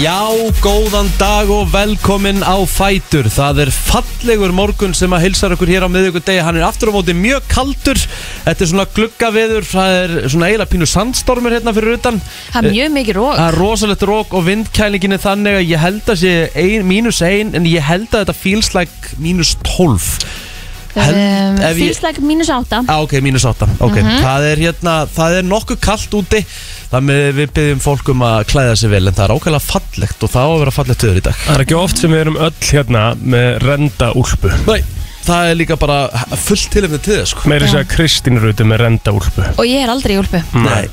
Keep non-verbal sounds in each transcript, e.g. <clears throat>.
Já, góðan dag og velkomin á Fætur Það er fallegur morgun sem að hilsar okkur hér á miðvíkudegi Hann er aftur á móti mjög kaldur Þetta er svona gluggaveður, það er svona eiginlega pínu sandstormur hérna fyrir utan Það er mjög mikið rók Það er rosalegt rók og vindkælingin er þannig að ég held að sé ein, mínus ein En ég held að þetta feels like mínus 12 um, ef ég- Fýlslæk mínus átta Á, Ah, ok, mínus 8 okay. það, er hérna, það er nokkuð kallt úti Þannig við byggjum fólkum að klæða sig vel En það er ákveðlega fallegt og það á að vera fallegt töður í dag Það er ekki oft sem við erum öll hérna með renda úlpu Nei, það er líka bara fullt tilefni til þess sko. Meiri segja Kristín Rúti með renda úlpu Og ég er aldrei í úlpu Nei,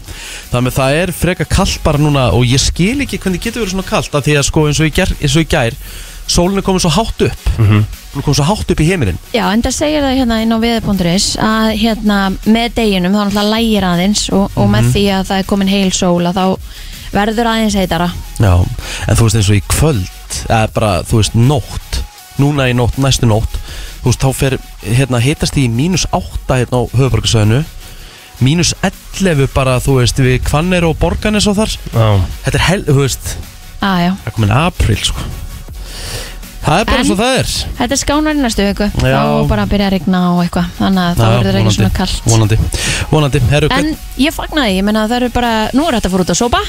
þannig að það er freka kallt bara núna og ég skil ekki hvernig getur verið svona kallt af því að sko eins og í gær, eins og í gær sólinu komið svo hátt upp mm hún komið svo hátt upp í heiminin Já, en það segir það hérna inn á veður.is að hérna með deginum þá náttúrulega lægir aðeins og, og Mhm. með því að það er komin heil sól að þá verður aðeins heitara Já, en þú veist eins og í kvöld eða bara, þú veist, nótt núna í nótt, næstu nótt þú veist, þá fer, hérna, hitast því í mínus 8 hérna á höfuborgarsöðinu mínus 11 bara, þú veist við kvannir og borganis og þar Já, þetta er hel, þú veist, ah, já. Það er komin april sko Það er bara En- eins og það er Þetta er skánar í næstu viku Já. þá bara byrja að rigna og eitthvað þannig að það Já, verður ekki svona kallt Vonandi, vonandi Heru, En en, ég fagnaði, ég menna það eru bara nú er þetta að fór út að sópa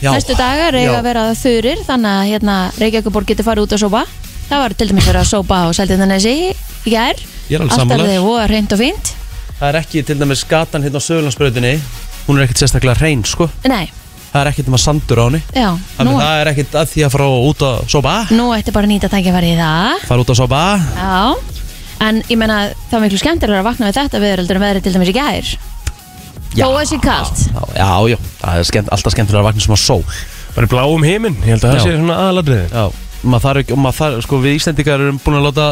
Já. Næstu dagar eiga Já. að vera þurir þannig að hérna Reykjavíkuborg getur farið út að sópa Það var til dæmis verið að sópa á Seldindanesi í gær Ég er alveg Allt sammála. er þið og reynd og fínt Það er ekki til dæmis gatan hérna á Söðurlandsbröðinni Hún er ekkit sérstaklega hrein sko Nei, Það er ekkit um að sandur á henni já, nú, Þannig að það er ekkit að því að fara út að sopa nú ætti bara að nýta tækifæri í það Fara út að sopa Já, en ég menna það er miklu skemmtilega að vakna við þetta við erum verið til dæmis í gær Já. Þó að sé kalt Já, já, já, það er skemmt, alltaf skemmtilega að vakna sem að sól bara í bláum heiminn, ég held að það Já. sé svona aðalabriðin Já, maður þarf ekki, og maður þarf, sko við Íslendingar erum búin að láta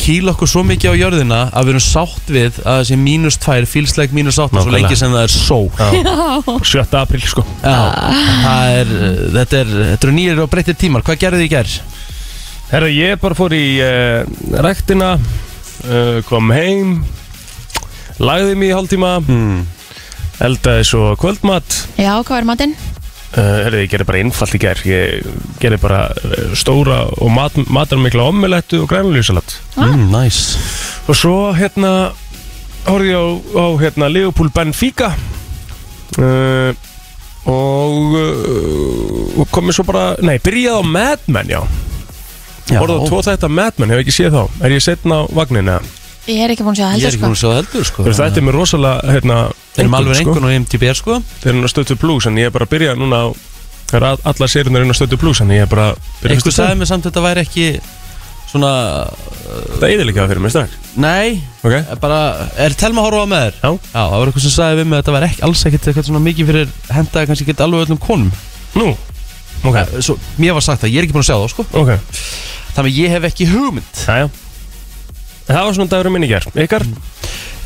kýla okkur svo mikið á jörðina að við erum sátt við að þessi mínus tvær, fílsleik mínus átta svo Nákvæmlega. lengi sem það er sól Já, 7. apríl sko Já, Ah. það er, þetta er, þetta eru nýjir og breyttir tímar, hvað gerðu þið í gerð? Herra, ég bara fór í uh, rektina uh, kom heim lagði mig í hálftíma Mm. eldaði svo kvöldmat já hvað er matinn? Uh, herri, ég gerði bara einfalt í gær Ég gerði bara uh, stóra og mat, matarmikla omelettu og grænulísalat Ah. Mm, næs Og svo hérna horfði ég á, á hérna Liverpool Benfica uh, og, uh, og komið svo bara, nei, byrjaði á Mad Men, já Horfði á tvo þetta Mad Men, hefur ekki séð þá Er ég setna á vagninu? eða? Ég er ekki búin að sjá það Ég heldur er ekki sko búin að sjá það heldur, sko Þú veist, Þetta er mér rosalega, hérna Þeir eru alveg einhvern einkunn, og IMDb, sko sko. Þeir eru að stötu plus, en ég er bara að byrja núna á Það eru all- allar sérinn að stötu plus, en ég er bara að Einhver byrja fyrstu sagði mér samt að þetta væri ekki svona, Þetta er eðilega fyrir mig strax nei, eh, Ok, bara, er Telma horfa með þér? já, Já, það var eitthvað sem sagði við mig að þetta væri ekki, alls ekkert eitthvað svona mikið fyrir hendaði kannski ekki alveg öllum konum Eh, nú Ok, Svo, mér var sagt það, ég er ekki búin að sjá það, sko ok, Þannig að ég hef ekki hugmynd já, já Það var svona dagurum minn í gær Ykkar?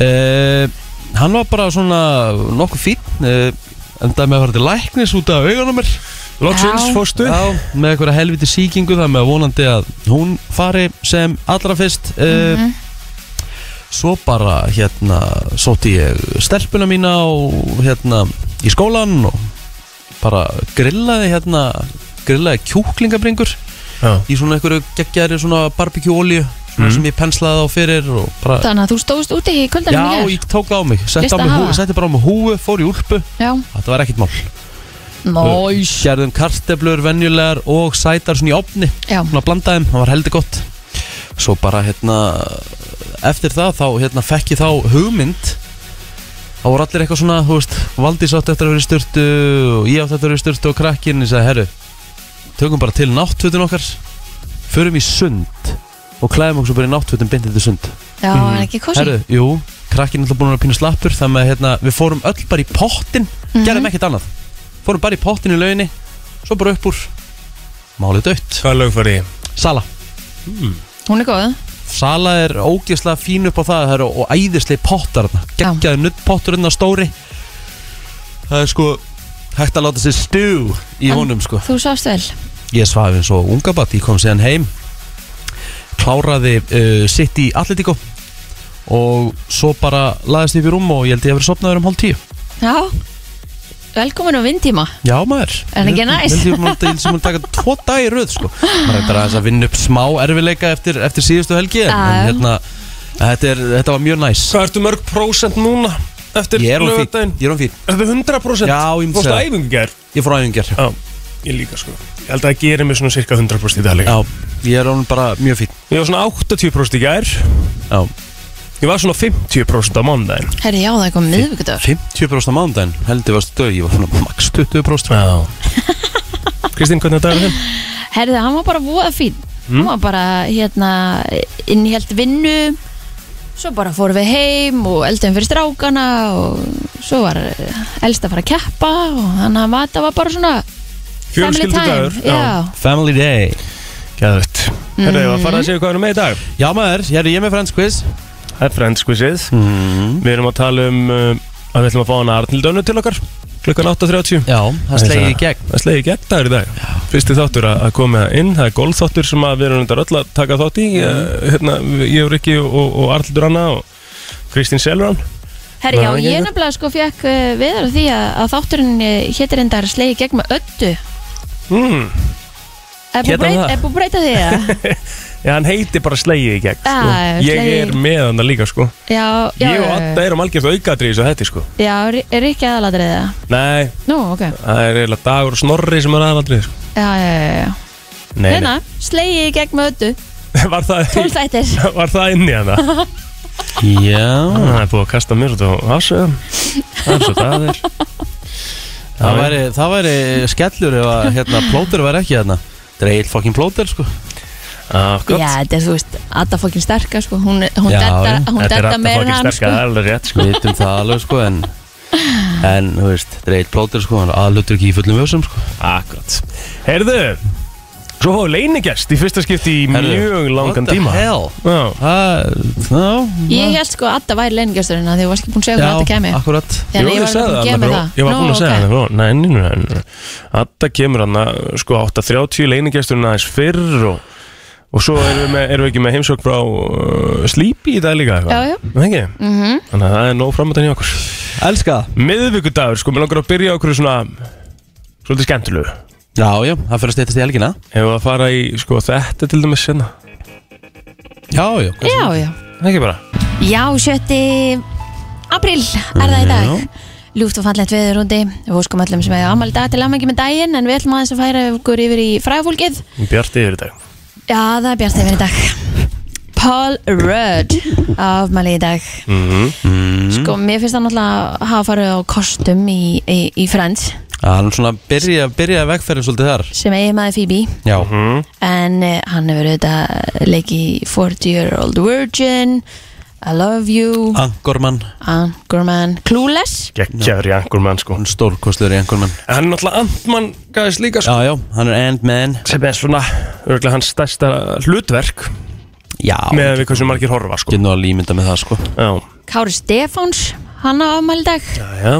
uh, Hann var bara svona nokkuð fín uh, endaði með að fara til læknis út af augunum mér Loksins Já. fórstu Já, með einhverja helviti sýkingu það með vonandi að hún fari sem allra fyrst uh, Svo bara hérna sótti ég stelpuna mína og hérna í skólan og bara grillaði hérna grillaði kjúklingabringur Já. í svona einhverju geggjari svona barbecue olíu svona sem ég penslaði á fyrir og bara Þannig að þú stóðst úti í kuldanum Já, í gær? ég tók það á mig, setti, Lista á mig hafa. húfu, setti bara á mig húfu, fór í úlpu Já, Þetta var ekkert mál næs Gerðum karteblur, venjulegar og sætar svona í opni Já, Svona blandaðum, það var heldur gott Svo bara hérna Eftir það þá hérna fekk ég þá hugmynd Það voru allir eitthvað svona, þú veist Valdís átti eftir að vera í styrtu Og ég átti eftir að vera í styrtu og krakkin Ég sagði, herru, tökum bara til náttfötun okkar Förum í sund Og klæðum okkur svo bara í náttfötun Bindið til sund já, mm. ekki kosi Herru, jú, krakkin er alltaf búin að vera pínu slappur Þannig að hérna, við fórum öll bara í pottin Gerðum ekkert annað Fórum bara í pottin í lauginni Svo bara upp úr Málið dött Hvað lög fari ég? Sala Hún er góð Sala er ógeðslega fín upp á það Það eru og æðislega pottar þarna Gekkjaði nuttpottur hérna stóri Það er sko Hægt að láta sér stú í En- honum sko Þú sást vel Ég svafi eins og unga bat, ég kom síðan heim Kláraði uh, sitt í Atletico Og svo bara laðist ég upp í rúm og ég held ég að vera sopnaður um hálf tíu Já, velkomin á vindtíma Já maður Er það ekki næs? Vildi ég múið að ég taka tvo dag í röð sko Maður eftir aðeins að vinna upp smá erfileika eftir, eftir síðustu helgi en, en Já. hérna þetta, er, þetta var mjög næs Hvað ertu mörg prósent núna eftir Ég er hún fín, laugardaginn? ég er hún fín Þetta er 100 prósent Já, ég myndi Fórstu segja. æfingu í gær? Ég fór á æfingar Já, ég líka sko Ég held að það gerir mig svona cirka 100 prósent í dag líka Já, ég er hún bara mjög fín Ég var svona 80 prósent í gær Já, Ég var svona 50 prósent á mánudaginn Herri, já, það er komið miðvikudagur 50% á mánudaginn heldur varst dög, ég var svona max 20% Já Kristín, hvernig er dagur þinn? Herri, hann var bara voða fín Hmm? Hann var bara, hérna, innhjælt vinnu Svo bara fórum við heim og eldum fyrir strákana og svo var elst að fara að keppa og þannig að þetta var bara svona family time. Fjölskyldudagur, Já, Family day Gæðvett Herra, ég var að fara Mhm. að segja hvað við erum með í dag Já maður, ég er ég er með friends quiz Það er Friends Quizið mm. Við erum að tala um uh, að við ætlum að fá hana Arnild Önnu til okkar klukkan 8.30 Já, það slegi í gegn Það slegir í gegn dagur í dag Fyrsti þáttur að að koma inn, það er golfþáttur sem að við erum þetta öll að taka þátt í Eh, hérna, Ég og Rikki og, og Arnildur Anna og Kristín Selran Herri, já, Nei, ekki ég eitthvað. nefnilega sko fekk uh, viðar á því að, að þátturinn eh, hétir endar slegi gegn með öddu. mm. Er búið Hét hann breyt, það? er búið breyta því það? <laughs> Já, hann heiti bara slegið í gegn sko. Já, Ég slegið í er gegn. með hann líka sko. já, já, Ég og Adda erum algjörð aukaðri í þessu þetta sko. já, er ekki aðaladrið það? Nei, Nú, ok. það er eiginlega dagur og snorri sem er aðaldrið sko. Já, já, já, já. Nei, nei. Hérna, slegi gegn með öddu, <laughs> Var það, 12 þættir. var það inn í hana? <laughs> Já, Það er búið að kasta mér út á ásöðum Það er svo það er það væri, það væri skellur ef að hérna, plóter væri ekki hérna Þetta er eiginlega fokkin plóter sko Já, Akkurat þetta er, þú veist, Adda fokkin sterka, sko. Hún, hún Já, detta, já. hún detta meira en hann, sterka, sko. það er alveg rétt sko Við vitum það alveg sko en En, þú veist, þetta er eiginlega plóter sko Hann aðlutur ekki í fullum vössum sko Akkurat Heyrðu, svo hóðu leinigest í fyrsta skipti í Herðu, mjög langan tíma What the hell? Já, Það, já Ég held sko að Adda væri leingjasturinn að því þú varst ekki búin að segja hvernig Adda kemi. Já, akkurat Þannig að ég Jú, var alveg búin að gema það. Nú, sagði þarna, Ég var búin að segja ok. það frá, Nei, nei, nei, nei, nei Adda kemur hann að sko 8.30 leinigesturinn aðeins fyrr og, og svo erum við, með, erum við ekki með heimsók frá uh, Sleepy í dag líka Já, já. Mhm. Þannig að það er nóg framöndan í okkur Elska það miðvíkudagur, sko, mér langar að byrja okkur svona svolítið skemmtilegu Já, já, það fyrir að steytast í helgina Hefur að fara í, sko, þetta til dæmis senna Já, já Já, já. Ekki bara Já, 7. apríl er það í dag Já. Ljúft og fallegt veður úti Við óskum öllum sem hefur ámæli dag til ámæki með daginn En við ætlum aðeins að færa okkur yfir í fræðfólkið Bjart yfir í dag Já, það er bjart yfir í dag Paul Rudd afmæli í dag mm Sko, mér finnst það náttúrulega að hafa farið á kostum í, í, í Friends Hann svona byrja, byrja vegferðin svolítið þar sem eigi maður Phoebe Já, mhm. en eh, hann hefur auðvitað leiki 40 year old virgin I love you Angormann, Anchorman Clueless Gekkjaður í angur mann, sko hann stórkostur í Angormann Hann er náttúrulega Antmann gæðist líka, sko Já, já, hann er Ant-Man sem er svona, örgulega hans stærsta hlutverk Já, með að við hversu margir horfa, sko getur nú að límynda með það sko Já, Kári Stefáns, hann á afmæli í dag já, já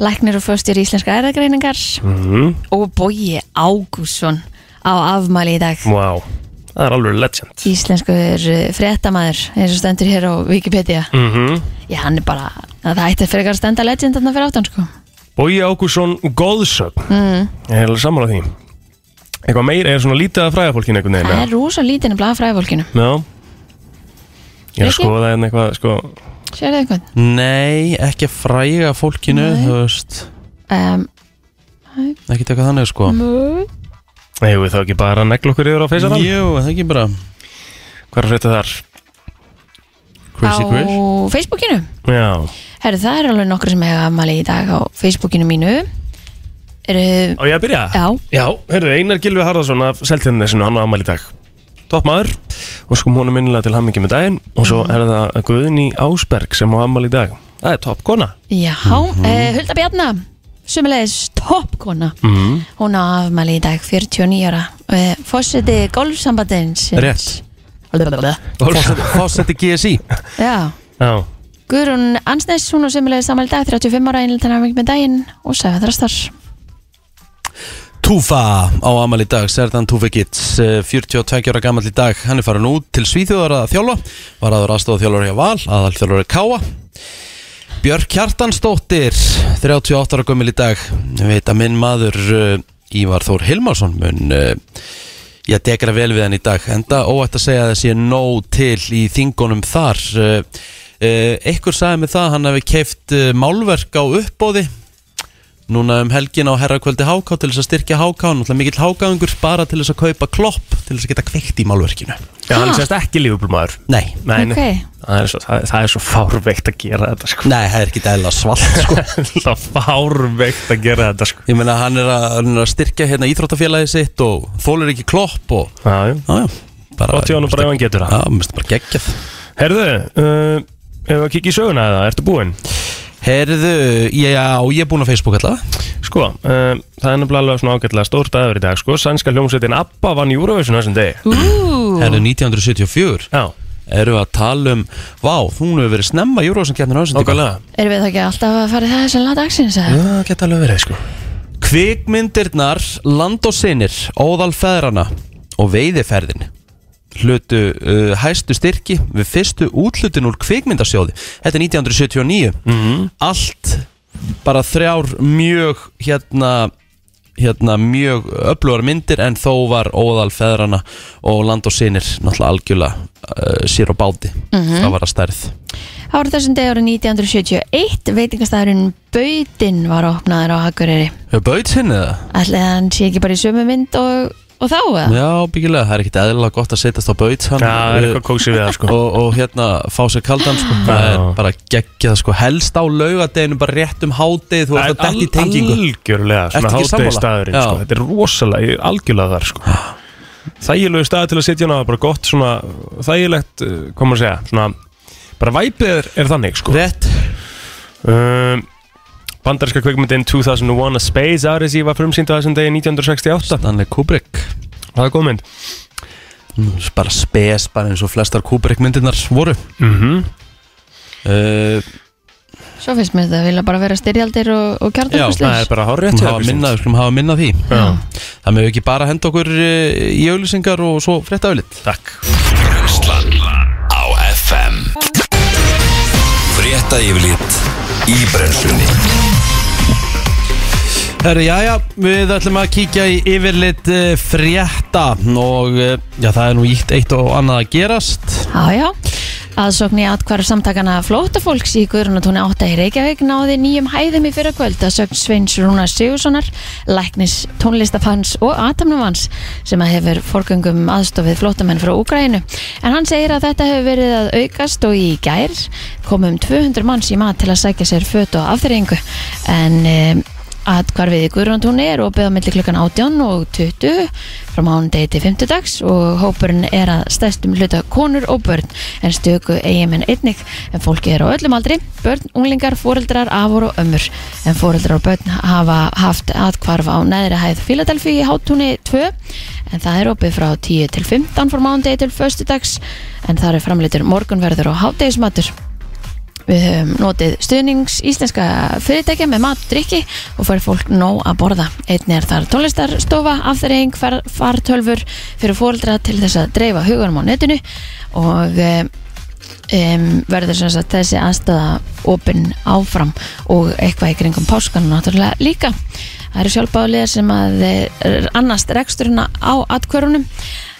Læknir og fyrstjur íslenska erðagreiningar Mhm. Og Bói Ágússon á afmæli í dag Vá, það er alveg legend Íslenskur eh, fréttamaður eins og stendur hér á Wikipedia mm -hmm. Já, hann er bara, það ætti að frekar að stenda legend þarna fyrir áttan sko Bói Ágússon Góðsögn mm. Ég er alveg sammála því Eitthvað meira er svona lítið að fræða fólkinu einhvern veginn Það eða? er rosa lítinn að blaða fræðvolkinu Já Ég er að Rikki? skoða hérna eitthvað sko Sérðu einhvern? Nei, ekki að fræga fólkinu, Nei. þú veist Um, Ekki taka þannig sko Mm. Eigum við þá ekki bara að negla okkur yfir á feysarann? Jú, það ekki bara Hvað er að frétta þar? Crazy á Chris Facebookinu Já Herru, það er alveg nokkru sem hefur afmæli í dag á Facebookinu mínu Eru, Á ég að byrja? já, Já, heyrðu, Einar Gilvi Harðarsson af Seltjarnesinu, hann á afmæli í dag Topp maður Og sko múnum minnilega til hammingi með daginn Og svo er það Guðni Ásberg sem á afmæli í dag Mhm. Það er topp kona já eh, Hulda Bjarna, sumulegis toppkona mm. Hún á afmæli í dag 49 ára Eh, Fórseti golfsambandins Rétt. Fósetti GSI Já Já, Guðrún Ansnes, hún á semulegis afmæli í dag 35 ára, einlítan afmæli með daginn og sæðastrastar Túfa á amal í dag, Serdan Túfi Gitts, eh, 42 ára gammal í dag, hann er farin út til Svíþjóðar að þjálfa, var aður aðstofað þjálfur hjá Val, aðal þjálfur Káa. Björk Hjartansdóttir 38 ára gömul í dag Ég veit að minn maður uh, Ívar Þór Hilmarsson mun uh, ég dekra vel við hann í dag enda óætt að segja að það sé nóg til í þingunum þar uh, uh, Ekkur sagði mig það hann hafi keift uh, málverk á uppbóði núna um helgin á herrakvöldi Háká til þess að styrkja Háká náttúrulega mikill Hákáðingur bara til þess að kaupa klopp til þess að geta kveikt í málverkinu Já, hann Ha? sést ekki lífubúlmaður Nei, Nei, nei. Ok. það, er svo, það, það er svo fárveikt að gera þetta sko. nei, það er ekki dæla svalt sko <laughs> Það er fárveikt að gera þetta sko. <laughs> Ég meina hann er að, hann er að styrkja hérna íþróttafélagi sitt og þólir ekki klopp og Já, Já, já já, bara Gott hjá honum bara ef hann getur það. Já, mér finnst það bara geggjað Herðu, uh, ef við að kikið í söguna eða, ertu búinn? Herðu, já, ég er búinn á Facebook allavega Sko, uh, það er nefnilega alveg svona ágætlega stór dagur í dag sko. Sænska hljómsveitin Abba vann Eurovision á þessum degi Ú, Herðu 1974 Já, Erum við að tala um, vá, hún hefur verið snemma Júrósson keppnir á þessum okkarlega erum við þá ekki alltaf að fara í það sem laða dagsins eða? Já, geta alveg verið sko Kvikmyndirnar, land og sinir, óðal feðrana og veiðiferðin hlutu uh, hæstu styrki við fyrstu útlutin úr kvikmyndasjóði þetta er 1979 Mhm. allt bara þrjár mjög hérna hérna mjög öflugar myndir en þó var óðal feðrana og land og sinir náttúrulega algjörlega uh, sér og báti það var að stærð Árið þessum degi árið 1971 veitingastæðurinn Böydin var opnaður á Akureyri. Hefur Baut sinni það? Ætli að hann sé ekki bara í sömu mynd og, og þá eða? Já, byggilega, það er ekkit eðlilega gott að setjast á uh, Baut Já, það er eitthvað kóksið við það sko og, og hérna fá sér kaldan sko. það er bara geggjað sko. helst á laugadeginu bara rétt um hádegi þú ert að Það dætt í er tengingu algjörlega svona Ertu ekki sammála? hátegistæðurinn Já. sko. Þetta er rosalega, ég er algjörlega þar sko. Þægilegu stað til að sitja hana bara gott svona, þægilegt uh, hvað maður að segja, svona bara væpið er, er þannig sko. rétt um, Bandarska kvikmyndin 2001 A Space Odyssey var frumsýnd á þessum degi 1968 Stanley Kubrick Það er góð mynd Nú, bara spes, bara eins og flestar Kubrick myndirnar voru mm Mhm. -hmm. uh, Svo finnst mér þetta að vilja bara vera styrjaldir og, og Já, Það er kjarnarkurslis. bara hár rétt skulum hafa minnað, við skulum hafa minnað því það með ekki bara henda okkur uh, í auðlýsingar og svo frétta auðlýtt Takk Brenslan á FM Frétta yfirlit í brenslunni Herri, já, já, við ætlum að kíkja í yfirlit uh, frétta og uh, já, það er nú ítt eitt og annað að gerast Já, já. Aðsókn í atkvarf samtakana flóttafólks í Guðrunatúni 8 í Reykjavík náði nýjum hæðum í fyrra kvöld að sögn Sveins Rúnar Sigurssonar, læknis tónlistafanns og atamnumanns sem að hefur forgöngum aðstofið flóttamenn frá Úgrænu. En hann segir að þetta hefur verið að aukast og í gær komum 200 manns í mat til að sækja sér föt og afþreyingu en um, að hvarfið í Guðrjóntúni er opið á milli klukkan 18 og 20 frá mánudegi til 50 dags og hópurinn er að stæstum hluta konur og börn en stöku eigimenn einnig en fólki er á öllum aldri, börn, unglingar, foreldrar, afur og ömmur en foreldrar og börn hafa haft aðkvarf á neðri hæð Filadelfi í hátúni 2 en það er opið frá 10 til 15 frá mánudegi til 1. dags en það er framleitur morgunverður og hátdegismatur Við höfum notið stuðnings íslenska fyrirtækja með mat og drikki og fær fólk nóg að borða. Einnig er þar tónlistarstofa, afturreying, far, fartölfur fyrir fóreldra til þess að dreifa huganum á netinu og um, verður sem sagt þessi aðstæða opinn áfram og eitthvað í kringum páskan náttúrulega líka. Það eru sjálfbáliðar sem að eh, annast reksturina á atkvörunum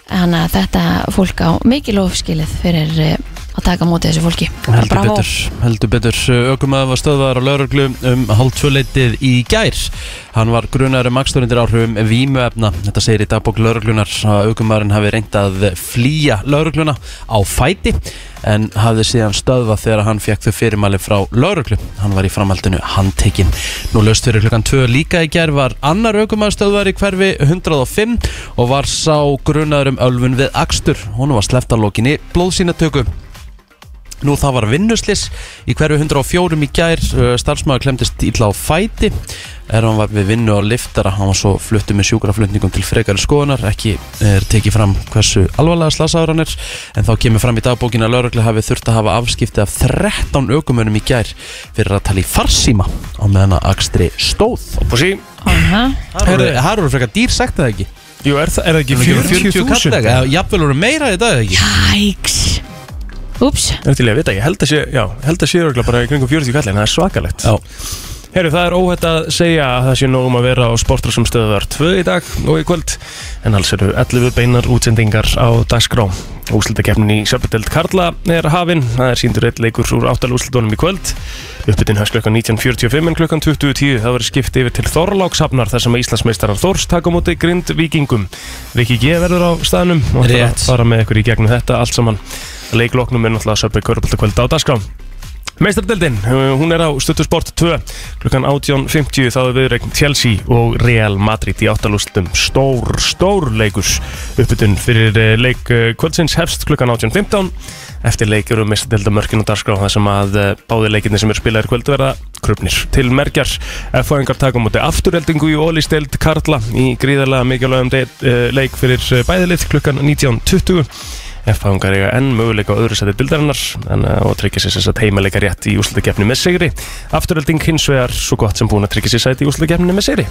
þannig að þetta fólk á mikið lofskilið fyrir eh, að taka á móti þessu fólki. Heldur Bravo. betur, heldur betur Ökumæður var stöðvar á lauruglu um hálftvöleitið í gær Hann var grunar um aksturundir áhrifum vímuefna Þetta segir í dagbók lauruglunar að ökumæðurinn hafi reynd að flýja laurugluna á fæti en hafði síðan stöðvað þegar hann fekk þau fyrirmæli frá lauruglu Hann var í framhaldinu handtekinn Nú löst fyrir klukkan 2 líka í gær var annar ökumæður stöðvar í hverfi 105 og var sá grunar um ölfun við akstur Hún var sleppt að lokinni blóðsýnatöku Nú það var vinnuslis í hverju 104 í gær uh, starfsmaður klemdist illa á fæti er hann var við vinnu á liftara hann var svo fluttu með sjúkraflutningum til frekari skoðunar ekki er tekið fram hversu alvarlega slasaður hann er en þá kemur fram í dagbókin að lauruglu hafi þurft að hafa afskipti af 13 aukumönum í gær fyrir að tala í farsíma á meðan að akstri stóð Pussi, Aha. Það eru- það eru frekar dýr sagt eða ekki jú er það, er það ekki 40 kall 40.000? eða jafnvel eru meira í dag eða ekki Æks Úps, Það er til í að vita, ég held að sé, já, held að sé örgulega bara í kringum 40 kallin, það er svakalegt. Já. Herru, það er óhætt að segja að það sé nógum að vera á sportrásum stöðuðar 2 í dag og í kvöld, en alls eru 11 beinar útsendingar á dagskrá. Úslutakefnin í Söpudeld Karla er hafin, það er síndur eitt leikur úr áttal úslutunum í kvöld. Uppbyttin hefst klukkan 19.45 en klukkan 20.10 það verður skipt yfir til Þorlákshafnar þar sem að Íslandsmeistarar Þórs taka á móti grind vikingum. Viki G verður á staðnum og ætlar að Rétt. fara með ykkur í gegnum þetta allt saman. Leikloknum er náttúrulega söpbið kvöruboltakvöld á dagskrá. Meistardildin, eh, hún er á Stöttu Sport 2 klukkan 18.50 þá er viðreikn Chelsea og Real Madrid í áttalústum stór, stór leikur uppbytun fyrir eh, leik eh, kvöldsins hefst klukkan 18.15 eftir leik eru meistardildamörkin og darskrá það sem að eh, báðir leikirnir sem eru spilaðir í kvöld verða krupnir til merkjar F-fæðingar taka á móti afturheldingu í ólistild Karla í gríðarlega mikilvægum de- eh, leik fyrir bæðilið klukkan 19.20 F-fangar eiga enn möguleika á öðru sæti dildarinnar en, uh, og tryggja sér þess að heimaleika rétt í úslutakefni með sigri. Afturölding hins vegar svo gott sem búin að tryggja sér sæti í úslutakefni með sigri.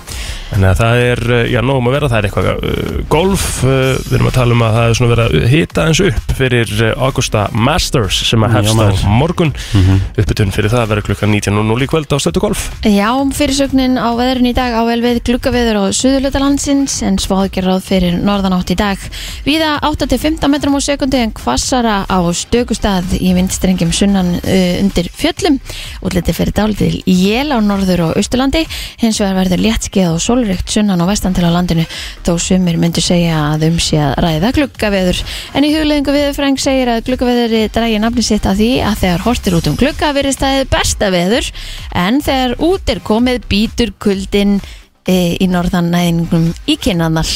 Þannig að það er, uh, já, nógum að vera, það er eitthvað uh, golf, uh, við erum að tala um að það er svona verið að hita eins upp fyrir uh, Augusta Masters sem að Já, hefst á maður. Mhm. morgun. Mm fyrir það verður klukkan 19.00 í kvöld á stötu golf. Já, um fyrirsögnin á veðrun í dag á vel við gluggaveður á suðurluta landsins en sváðgerrað fyrir norðan átt í dag. Víða 8-15 metrum á sekundi en hvassara á stökustað í vindstrengjum sunnan uh, undir fjöllum. Útliti fyrir dálítil jél á norður og austurlandi hins vegar verður léttskeið og sólrikt sunnan og vestan til á landinu þó sumir myndu segja að um sé að ræða gluggaveður. En í hugleðingu viðurfræng segir að gluggaveðuri drægi nafni sitt að því að þegar hortir út um glugga verðist það hið besta veður en þegar út er komið býtur kuldin e, í norðan næðingum í kynannar.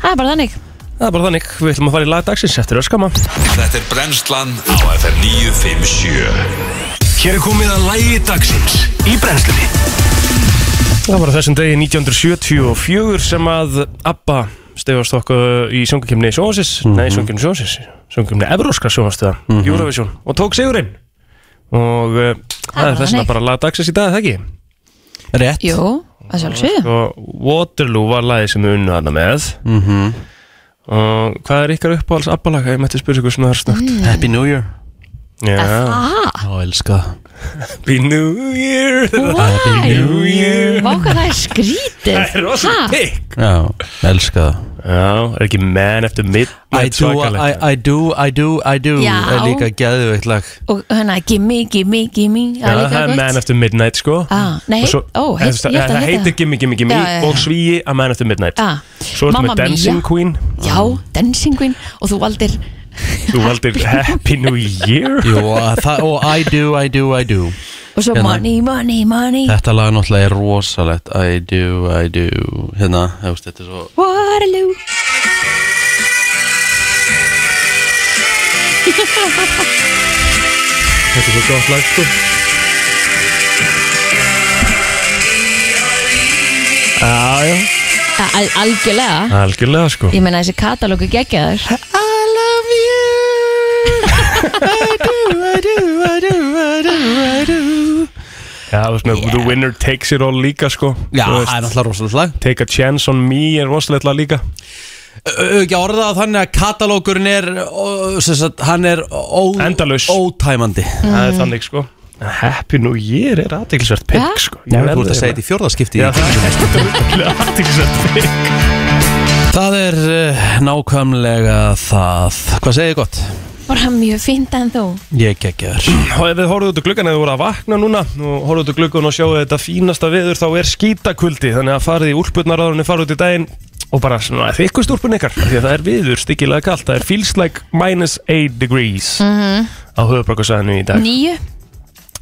Það er bara þannig. Það er bara þannig, við ætlum að fara í lagdagsins eftir öskama. Þetta er brennslan á FM 957 Hér er komið að lægi dagsins í brennslunni Það var á þessum degi 1974 sem að ABBA stefast okkur í sungakemni Sjónsis, nei sungakemni Sjónsis, sungakemni Evróska sjónastöða, Eurovision og tók sigurinn og uh, það var er þess vegna þannig. bara laga dagsins í dag, er það ekki? Rétt Jú, að sjálfsögðu. Og Waterloo var lagið sem við unnu hana með Mhm. og hvað er ykkar uppáhalds ABBA-laga? Ég mætti spyrja ykkur svona þar snögt. Happy New Year Já, Ah, Já, elska það Happy New Year, why? Vá hvað það er skrítið. <laughs> það er rosa Ha? pikk. Já, elska það Já, er ekki man eftir I do, I, midnight svakalegt? I do, I do, I do Já. er líka geðveikt lag Og hérna, gimme, gimme, gimme. Það er Já, það líka er man gott. eftir midnight sko. Ah, nei, Og svo- ó, heit, það, ég ætla það að heitir heita Gimme Gimme Gimme Já, já, já. og svíi að Man After Midnight það. Svo erum Mamma við Dancing Mia. Queen Ah. Já, Dancing Queen og þú valdir Ah. Þú <laughs> valdir Happy New Year Jú, <laughs> og, það, og I do, I do, I do og svo Hérna. money, money, money Þetta lag náttúrulega er rosalegt I do, I do Hérna, þú veist, þetta er svo Waterloo Þetta er svo gott lag sko Já, já Al- al- Algjörlega Algjörlega sko Ég meina þessi katalógu geggjaður I love you I do, I do, I do, I do, I do Já, þú veist með The Winner Takes It All líka sko Já, Þú það veist, er náttúrulega rosalegt lag Take a Chance on Me er rosalega líka Mm. Ö- ö, Ekki orðað að þannig að katalókurinn er ó, sem sagt, Hann er ó, Endalaus. ótæmandi Það er þannig sko En Happy New Year er aðeinsvært Já. pikk sko Ég Já, verð þú ert að segja þetta í fjórðaskipti Já, það er stundlega aðeinsvært pikk Það er uh, nákvæmlega það Hvað segir þið gott? Bara mjög fínt en þú Ég geggjaður Og ef þið horfðu út úr gluggan eða voru að vakna núna og horfðu út úr gluggan og sjáu þetta fínasta veður þá er skítakuldi þannig að farið í úlpurnar áður en þið farið út í daginn og bara svona þykust úlpun ykkar af því að það er viður stikkilega kallt það er feels like minus 8 degrees Mhm. á höfubrakusæðinu í dag Nýju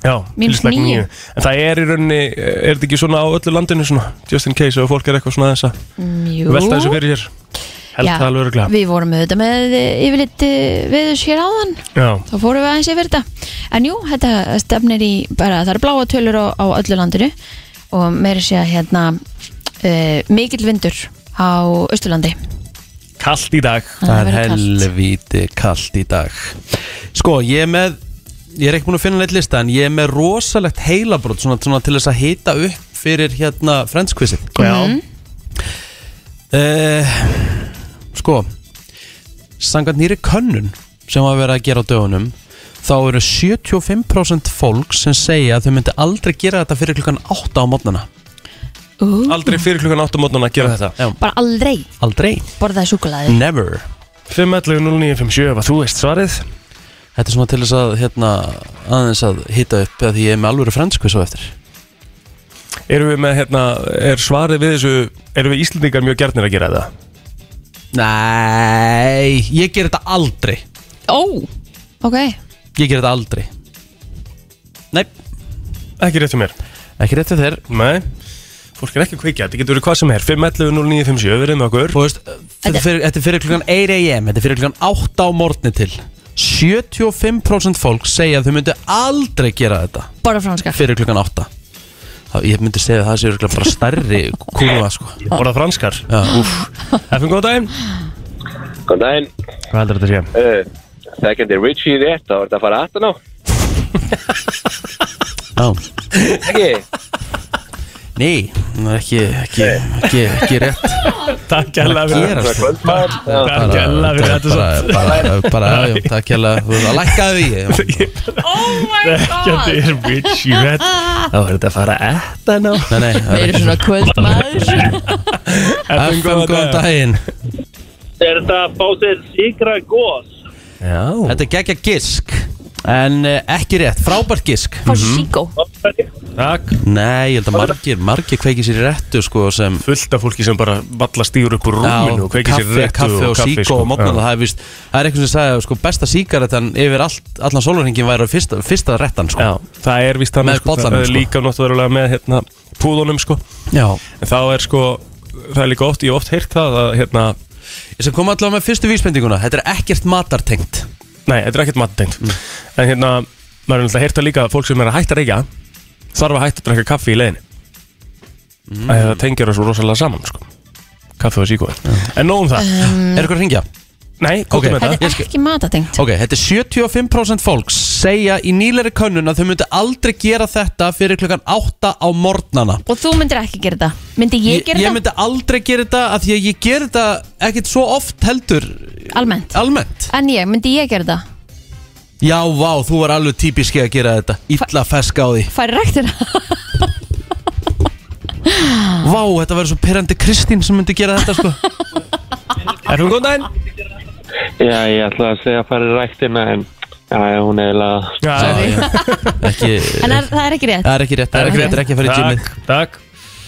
Já, Mínus feels like níu. níu. en það er í rauninni er þetta ekki svona á öllu landinu svona just in case ef fólk er eitthvað svona þess að Jú velta þessu fyrir sér held Já. það alveg örglega Við vorum auðvitað með eh, yfirleitt eh, viðurs hér áðan Já, þá fórum við aðeins yfir þetta en jú, þetta stefnir í bara það eru bláa tölur á, á öllu landinu og meira sé að hérna uh, mikill vindur á Östurlandi kallt í dag Það er verður kalt. helvíti kallt í dag Sko, ég er með Ég er ekki búin að finna neitt lista En ég er með rosalegt heilabrót Svona, svona til þess að hita upp fyrir hérna Friendskvissi Já, uh, Sko Sangat nýri könnun Sem var verið að gera á dögunum þá eru 75% fólk sem segja að þau myndi aldrei gera þetta fyrir klukkan 8 á mótnana Ú, Aldrei fyrir klukkan 8 mótnana að gera þetta Bara aldrei Aldrei borðaði súkulaði Never 5.11.09.57 ef að þú veist svarið Þetta er svona til þess að hérna, aðeins að hitta upp eða því ég er með alvöru franskvís á eftir Erum við með, hérna, er svarið við þessu Erum við Íslendingar mjög gernir að gera þetta? Nei, ég ger þetta aldrei Ó, ok Ég ger þetta aldrei Nei, Ekki rétt um mér ekki rétt við þér Nei Fólk er ekki að kveikja, þetta getur verið hvað sem er 5.11.09.57, verið með okkur Þú veist, þetta er fyrir, þetta er fyrir klukkan 8 a.m. Þetta er fyrir klukkan 8 á morgni til 75% fólk segja að þau myndu aldrei gera þetta Borða franska fyrir klukkan 8 Þá, Ég myndi segja að það sé örugglega bara stærri kurva sko Orða franskar Já. Efum góð daginn Góðan daginn, Hvað heldur þetta sé? Eh, uh, þekkjandi Richie rétt, þá er þetta að fara aftan á, Já. ekki? Nei, það er ekki, ekki, ekki, ekki rétt Takk hella að gera sko Kvöldmaður, já. Bara- Takk hella fyrir bara- þetta samt. bara- bara- Bara, já, takk hella Það lækkaði því Oh my Þetta er Richie Red Þá er þetta að fara etta ná Nei, nei, það er Við erum ekki svona kvöldmaður FM, góðan daginn Er þetta að fá sér síkra gós? Já, Þetta er geggja gisk En eh, ekki rétt, frábært gisk Fá síkó takk Nei, ég held að margir, margir kveiki sér í réttu sko sem Fullt af fólki sem bara valla stígur upp úr rúminu og sko. kveikir sér kaffi, réttu kaffi og síkó og mótnala það er víst, það er eitthvað sem sagði að sko, besta síkaretan yfir allt, allan sólurhingin væri fyrsta, fyrsta rettan sko. Já, það er vist Með þannig sko, bollanum, það er sko. líka náttúrulega með hérna, púðunum sko Já. En þá er sko, það er líka oft, ég hef oft heyrt það að hérna Ég sem kom allavega með fyrstu vísbendinguna þetta er ekkert matartengt Nei, þetta er ekkert mattengt Mm. En hérna, maður er náttúrulega heyrt það líka að fólk sem er að hætta að reykja Þarf að hætta að drekka kaffi í leiðinni mm. Það tengir það svo rosalega saman sko Kaffi og síkói En nóg um það Er eitthvað að ringja? Nei, komdu Ok. með Ehm. Þetta þetta Þetta Ég er skil- ekki matatengt Ok, þetta er 75% fólks segja í nýleiri könnun að þau myndi aldrei gera þetta fyrir klukkan 8 á morgnana Og þú myndir ekki gera þetta Myndi ég gera ég þetta? myndi aldrei gera þetta af því að ég gera þetta ekkert svo oft heldur Almennt almennt En ég, myndi ég gera þetta? Já, vá, þú var alveg típiski að gera þetta Illa fesk á því Færi ræktir það? Ah. Vá, þetta verður svo perandi Kristín sem myndi gera þetta <laughs> sko Erum við góðan daginn? já, ég ætla að segja að fara í ræktina, en já, já, hún er eiginlega, Já, Já, já. Ekki <laughs> En er, það er ekki rétt Það er ekki rétt, það er ekki rétt, það er ekki að fara í takk, gymið takk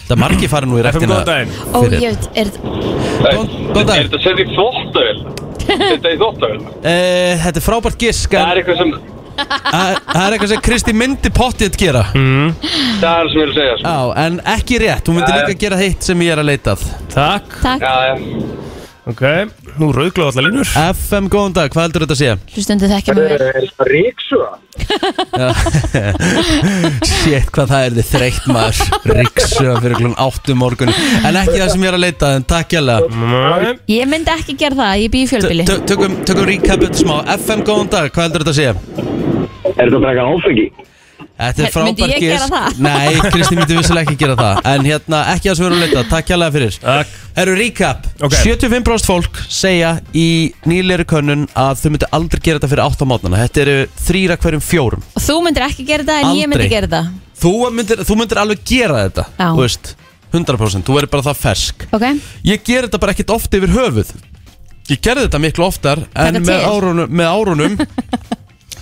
Það er margir farið nú í Erum við rektina góðan daginn? Ó, fyrir- ég veit, er Góðan góðan dag þetta sett í þvóttavél? Þetta í þvóttavél? Eh, Þetta er frábært gisk en eitthvað sem... Það það er eitthvað sem Kristi myndi pottið gera Það er sem ég vil segja, Já, en ekki rétt, hún myndi Já, já. líka gera hitt sem ég er að leitað Takk, takk Já, já. ok Nú rauðglóð allar línur FM, góðan dag, hvað heldur þetta að sé? Hlustundu þekkja mig vel Er þetta ríksuga? Shit, hvað það er þið þreytt maður Ríksuga fyrir klun 8 morgun En ekki það sem ég er að leita, en takk jælega Nei. Ég myndi ekki gera það, ég bý í fjölbili Tö- Tökum, tökum recapið smá FM, góðan dag, hvað heldur þetta að sé? Er þetta að breyka áfengi? Þetta er Her- myndi frábært ég gís gera það? Nei, Kristi myndi vissilega ekki gera það En hérna, ekki það sem við erum að leita Takk hérlega fyrir Takk. Herru, recap Ok. 75% fólk segja í nýleiri könnun að þau myndi aldrei gera þetta fyrir 8 á mátnana Þetta eru þrýra hverjum fjórum Og þú myndir ekki gera það en ég myndi Aldrei. gera það Þú myndir, þú myndir alveg gera þetta Já. Þú veist, 100% Þú verður bara það fersk Ok, Ég ger þetta bara ekkert oft yfir höfuð Ég gerði þetta miklu oftar En Taka með til. árunum, með <laughs> árunum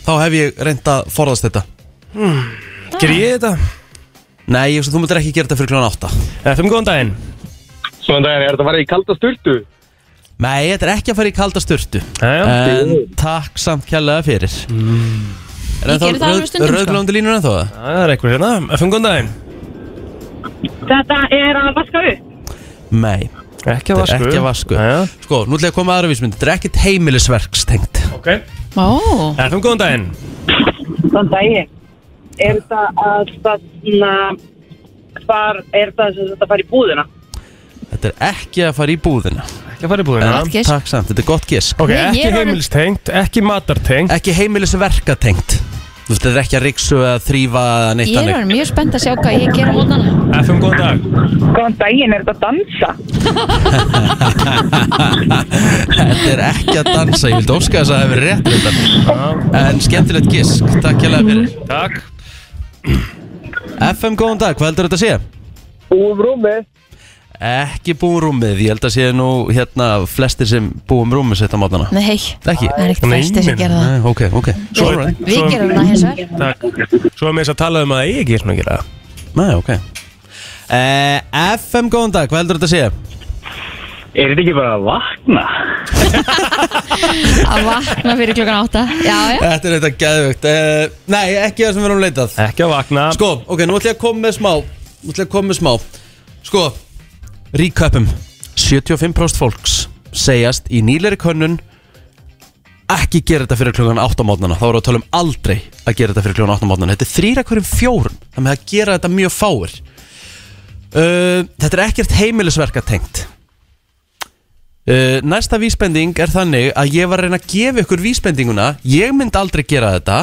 Þá hef ég reynd að forðast þetta Ger ég þetta? Nei, ég, þú myndir ekki gera þetta fyrir kljóðan 8 Erum við góðan daginn? Svona daginn, er þetta að fara í kalda sturtu? Nei, þetta er ekki að fara í kalda sturtu Jæja. En takk samt kjærlega fyrir mm. Ég geri það alveg stundum, sko. Rauðglóndi línur en þó Það er eitthvað hérna, erum við góðan daginn? Þetta er að vaska upp. Nei, Ekki að þetta er vasku ekki að vasku Jæja. Sko, nú ætla ég að koma að aðra vísmynd Þetta er ekkert heimilisverkstengt Ok, erum ó, við góðan daginn? Þann daginn. Er þetta að stanna, hvar, er þetta sem þetta fara í búðina? Þetta er ekki að fara í búðina Ekki að fara í búðina En Gott gisk. Takk samt, þetta er gott gisk Ok, Nei, ég ekki er orðin- heimilstengt, ekki matartengt Ekki heimilisverkatengt Þú veist, þetta er ekki að riksu eða þrýfa eða neitt Ég er orðin mjög spennt að sjá hvað ég gera mótana FM, góðan dag Góðan daginn, er þetta að dansa? <laughs> Þetta er ekki að dansa, ég vildi óska þess að það hefur rétt þetta En skemmtilegt gisk, takk hérlega fyrir Takk FM, góðan dag, hvað heldur þetta að sé? Búum rúmi Ekki búum rúmið, ég held að sé nú hérna flestir sem búum rúmið setja mátana Nei, hei, Ekki? það er ekkert Nei, fæstir sem nei, gera það Nei, ok, ok Svo er- Alright. Við svo- gerum það hins vegar Takk Svo er með þess að tala um að ég ekki er svona að gera það Nei, ok uh, FM, góðan dag, hvað heldur þetta að sé? Er þetta ekki bara að vakna? Að vakna fyrir klukkan átta Já, já Þetta er eitthvað geðvögt uh, Nei, ekki það sem við erum leitað Ekki að vakna Sko, ok, nú ætlum ég að koma með smá Nú ætlum ég að koma með smá Sko, recapum 75% fólks segjast í nýleiri könnun ekki gera þetta fyrir klukkan 8 á mótnana þá erum við að tala um aldrei að gera þetta fyrir klukkan 8 á mótnana þetta er þrýra hverjum fjórun þannig að gera þetta mjög fáir uh, Þetta er ekkert heimilisverka tengt Uh, næsta vísbending er þannig að ég var að reyna að gefa ykkur vísbendinguna Ég myndi aldrei gera þetta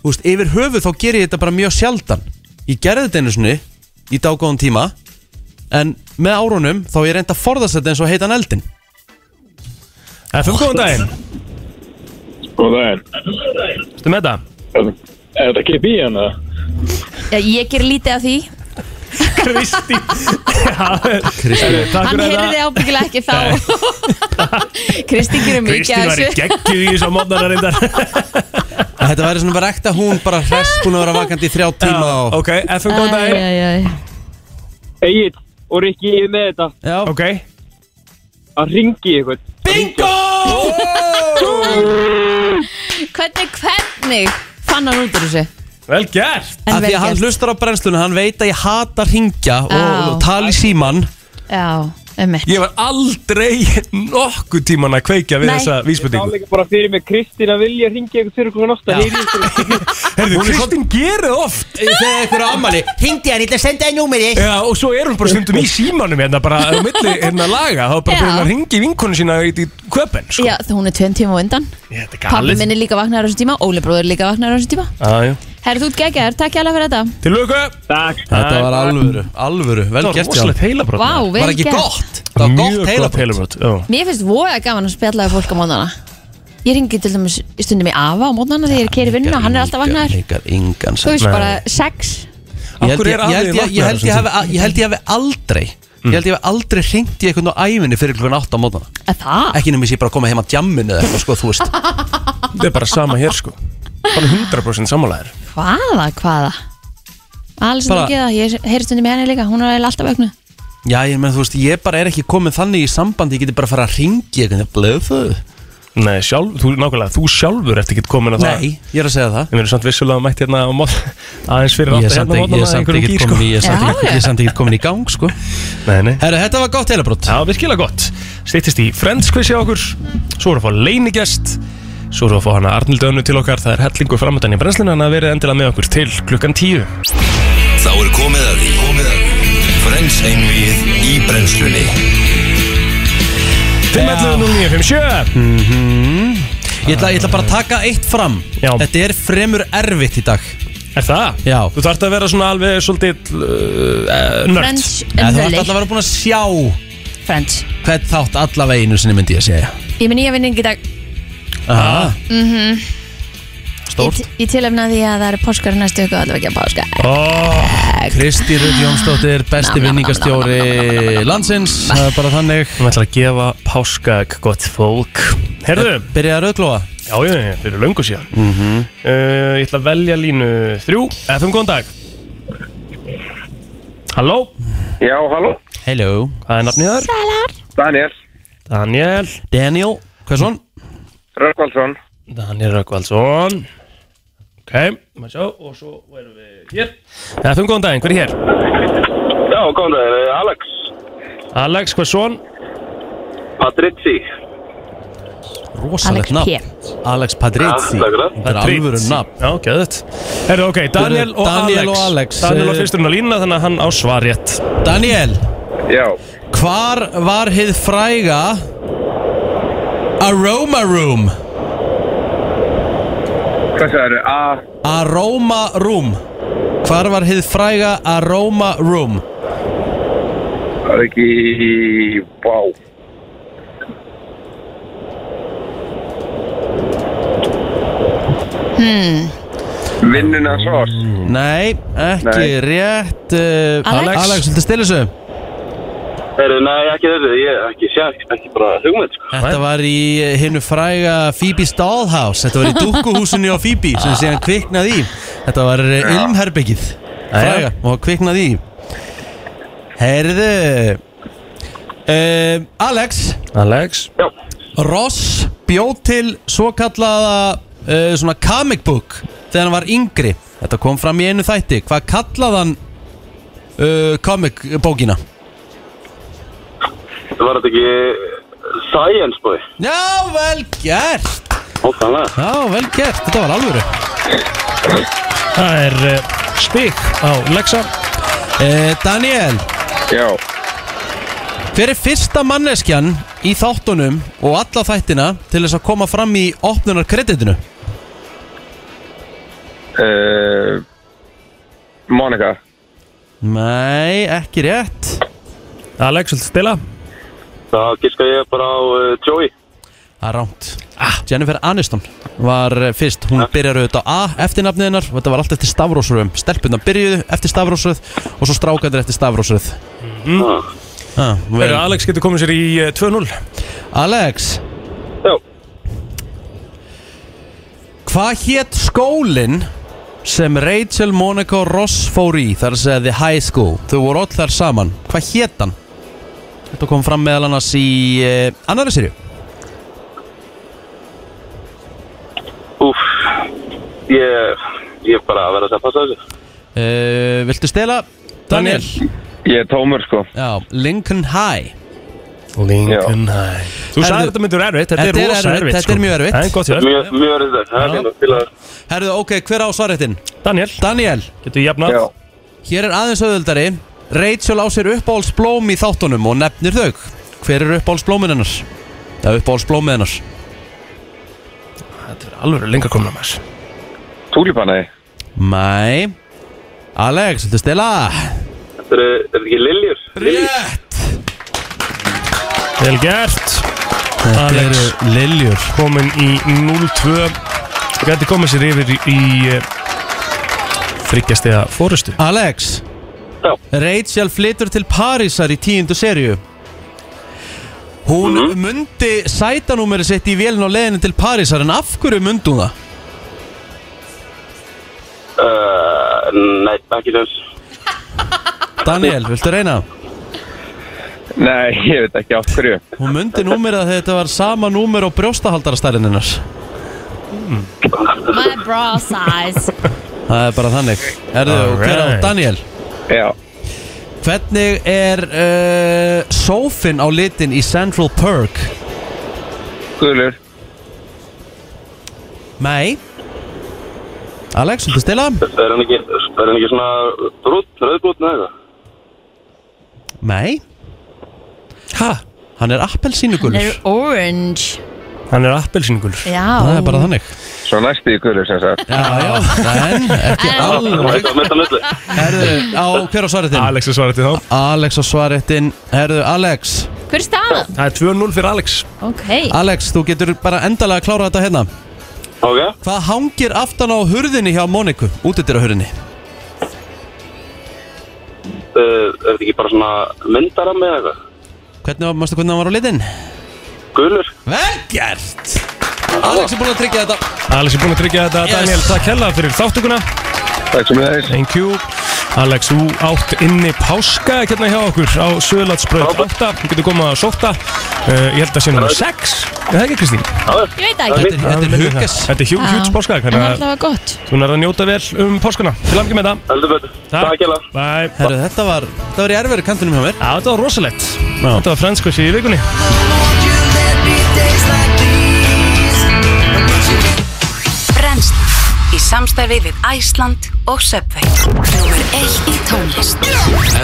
Þú veist, yfir höfuð þá ger ég þetta bara mjög sjaldan Ég gerði þetta einu sinni í dágóðan tíma En með árunum þá ég reyndi að forðast þetta eins og heitan eldin FM, góðan dag Góðan daginn Ertu með það? Er þetta ekki bíjan það? Já, Ég ger lítið af því <laughs> Kristi eh, Kristi Hann heyrði ábyggilega ekki þá Kristi gerir mikið Kristi af var í þessu geggið í þessu mótnar reyndar En Þetta væri svona bara ekta hún bara hress búin að vera vakandi í þrjá tíma og... Ok, FM, Æ, góðan dag æ, æ. Egil og Rikki ég er með þetta Já, Ok að ringi ykkur bingo! Hvernig, hvernig fann hann út úr þessu? Vel gert En Af því vel að hann gert. hlustar á brennsluna, hann veit að ég hata ringja og, Já. og tala í síman Já, um Ég var aldrei nokkuð tíman að kveikja við Nei. þessa Þá vísbendingu líka bara fyrir mig Kristín að vilja ringi ykkur fyrir okkur nátt að heyri Herðu, Kristín gerir það oft Þegar ykkur á ammali, ringdi hann, ég ætla að senda þér númeri Já, og svo er hún bara stundum í símanum hérna bara á milli hérna laga þá er bara Já. byrjum að ringi vinkonu sína í, í köpen sko. Já, þú hún er tveim tíma á undan Þetta er Pappi galið minn er líka vaknaður á þessum tíma Óli bróður er líka vaknaður á þessum tíma Já, já. Herðu, þú ert geggjaður, takk hérlega fyrir þetta Til lögu Takk Þetta var alvöru, alvöru, vel Það gert var hjá hann rosalegt heilabrót Vá, vel Var ekki gert. gott? Það var Mjög gott gott heilabrót heilabrót já. Mér finnst voða gaman að spjalla við fólk á mótnana Ég ringi til dæmis stundum í Ava á mótnana þegar ég keri vinnu og hann er alltaf vaknaður Engar, engan Þú veist Nei. bara sex Ég Af held hverju ég, er ég, held ég, ég, held aðeins ég, vaknaður hafi- ég held ég hafi aldrei Ég held ég hafi aldrei hringt í einhvern á ævinni fyrir klukkan 8 á mótana að Það? Ekki nefnir sé bara að koma heim að djamminu eða eitthvað sko þú veist Þetta er bara sama hér sko Bara 100% samanlæður Hvaða, hvaða? Alls Bara- bara... ekki það, ég heyri stundum í henni líka Hún er eiginlega alltaf vaknuð Já ég menn þú veist ég bara er ekki komin þannig í sambandi Ég geti bara að fara að hringi eitthvað blöfu Nei, sjálf, þú, nákvæmlega, þú sjálfur ert ekki komin að það Nei ég er að segja það Ég verður samt vissulega mætt hérna á mót <laughs> aðeins fyrir Ég er átta samt ekki- ég hérna á er mótnana samt einhverjum ekki gýr sko komin í- ég er samt Já, ekki- já. ég er samt ekki komin í gang sko Nei, nei Herru þetta var gott heilabrót Já, virkilega gott Stýttist í Friends quiz hjá okkur Svo erum við að fá leinigest Svo erum við að fá hana Arnild Önnu til okkar Það er hellingur framöndan í brennslinu Þannig að verið endilega með okkur til klukkan tíu Þá er komið að því Komið að því Frens einvið í brennslunni 5.11.09.57 Ég ætla, ég ætla bara að taka eitt fram Já. Þetta er fremur erfitt í dag Er það? Já. Þú þarft að vera svona alveg svolítið uh, nörd Friends En and þú ætti alltaf Hurley að vera búin að sjá Friends Hvern þátt allavega einu sinni myndi ég að segja Ég er með nýja vinning í dag Mhm. Aha. Mm -hmm. Stórt Ég, ég tilöfna því að það eru páskar í næstu ykkur Allavega ekki að <laughs> páska oh, Kristi Rödd Jónsdóttir, besti Nam, nam, nam, vinningastjóri landsins Það er bara þannig Við ætlum að gefa páskaegg gott fólk Herðu Byrjaði að rauðglóa Já, já, já, fyrir löngu síðan Mhm. uh, Ég ætla að velja línu þrjú FM, góðan dag Halló, Já, halló Hello hvað er nafnið þar? Daniel Daniel Daniel, hvað er svon? Rökkvaldsson Daniel Rökkvaldsson Ok, maður sjá og svo erum við hér Það er góðan daginn, hver er hér? Já, góðan daginn, Eh, Alex Alex, hvað er svon? Patrizzi Rosalegt Alex P. nafn Alex Padrizzi Ah, takk fyrir. Þetta er alvöru nafn Já, geðut Herru, ok, Daniel og Daniel Alex og Alex, Daniel var eh, fyrsturinn að lína þannig að hann á svarjett Daniel, Já hvar var hið fræga Aroma Room? Hvað sagður? A... Aroma Room Hvar var hið fræga Aroma Room? Það er ekki... Vá. Hmm. Vinnuna svars. Nei, ekki Nei. rétt uh, Alex? Alex, viltu stila þessu? Heyrðu, nei, ekki þessu, ég ekki sé, ekki bara hugmynd, sko. Þetta var í eh, hinu fræga Phoebe's Dollhouse Þetta var í dukkuhúsinu á Phoebe sem síðan kviknaði í Þetta var eh, ilmherbergið fræga og kviknaði í Herðu uh, Alex Alex Já. Ross bjóð til svo kallaða uh, svona comic book þegar hann var yngri Þetta kom fram í einu þætti Hvað kallað hann uh, comic bókina? Það var þetta ekki eh, science boy, Já, vel gert ókvæmlega. Já, vel gert, þetta var alvöru Það er uh, stík á Lexa uh, Daniel, Já. hver er fyrsta manneskjan í þáttunum og alla þættina til þess að koma fram í opnunar kreditinu? Uh, Monika. Nei, ekki rétt Alex, viltu stila? Þá gíska ég bara á uh, Joey. Það er rámt Jennifer Aniston var eh, fyrst Hún byrjar auðvitað á A eftirnafniðinnar og Þetta var allt eftir stafrósröðum Stelpunna byrjuðu eftir stafrósröð Og svo strákandir eftir stafrósröð ah, Well. vel. Alex getur komið sér í uh, 2-0 Alex Já. Hvað hétt skólinn sem Rachel Monaco Ross fór í þar að segja The High School Þau voru öll þar saman Hvað hétt hann? Þetta kom fram meðal annars í eh, annari sériu Úf, ég, ég bara verða að segja passa þessu. uh, Viltu stela? Daniel. Ég er tómur, sko. Já, Lincoln High Lincoln High Þú Herðu- sagði þetta myndur erfitt, þetta er Þetta er rosa erfitt, erfitt þetta er sko. mjög erfitt. En gott hjá Mjög, mjög verður þetta, það er hérna, til að... Herðu, ok, hver á svarréttin? Daniel, Daniel, getur jafnað Já. hér er aðeins auðvöldari Rachel á sér uppáhaldsblóm í þáttunum og nefnir þau Hver er uppáhaldsblómin hennar? Það er uppáhaldsblómið hennar Þetta er alveg lengra komin að maður Túlipanæði. Mæ Alex, viltu stela? Þetta eru, er þetta ekki liljur? Rétt Vel gert Þetta Alex. eru liljur Komin í 0-2 Getur komið sér yfir í, eh, í uh, Þryggjastega fórustu Alex Já. Rachel flytur til Parísar í tíundu serju Hún Mhm. mm -hmm. mundi sætanúmeri sitt í vélun á leiðinu til Parísar En af hverju mundi hún það? Uh, nei, ekki þess. Daniel, viltu reyna? Nei, ég veit ekki af hverju. Hún mundi númerið að þetta var sama númer og brjóstahaldarastælininnar My bra size Það er bara þannig Erðu, right. hver á Alright. Daniel? Já. Hvernig er uh, sófin á litin í Central Perk? Guðlur. Nei Alex, viltu stila? Er hann ekki, er hann ekki svona brútt, rauðbrútt, neða eitthvað? Nei Hæ? Hann er appelsínugulur Hann er orange Hann er appelsingul Já Það er bara þannig Svo næstu í guðlur sem sagt. Já, já Ah. En, ekki Oh alveg Eitthvað mitt að milli. Herðu, á hver á svaretin? Alex er svarað til þá Alex á svaretin Herðu, Alex Hver er staðan? Það er 2-0 fyrir Alex Ok Alex, þú getur bara endalega að klára þetta hérna Ok, Hvað hangir aftan á hurðinni hjá Moniku? Útidýra hurðinni uh, er þetta ekki bara svona myndara með eitthvað? Hvernig, mástu hvernig hann var á litinn? Gulur? Vel gert! Alex er búinn að tryggja þetta Alex er búinn að tryggja þetta Yes. Daniel, takk hella fyrir þáttuguna Takk sem leiðis. Thank you Alex, þú átt inni páska hérna hjá okkur á Söðlandsbröð 8 Þú getur komað að sóta uh, Ég held að sé nummer 6 Er það ekki Kristín? Ég veit það ekki Þetta er- þetta er hugas Þetta er hjú, Já. hjúts páska En Þannig það að var gott þú nærði að njóta vel um páskuna Til amkið með það Heldur betur. Takk hella. Bæ Já, Herru, þetta var, þetta var í erfæri kantinum hjá mér þetta var rosalegt Þetta var franskursi í vikunni Brennst í samstarfi við Æsland og Söpvei Númer eitt í tónlist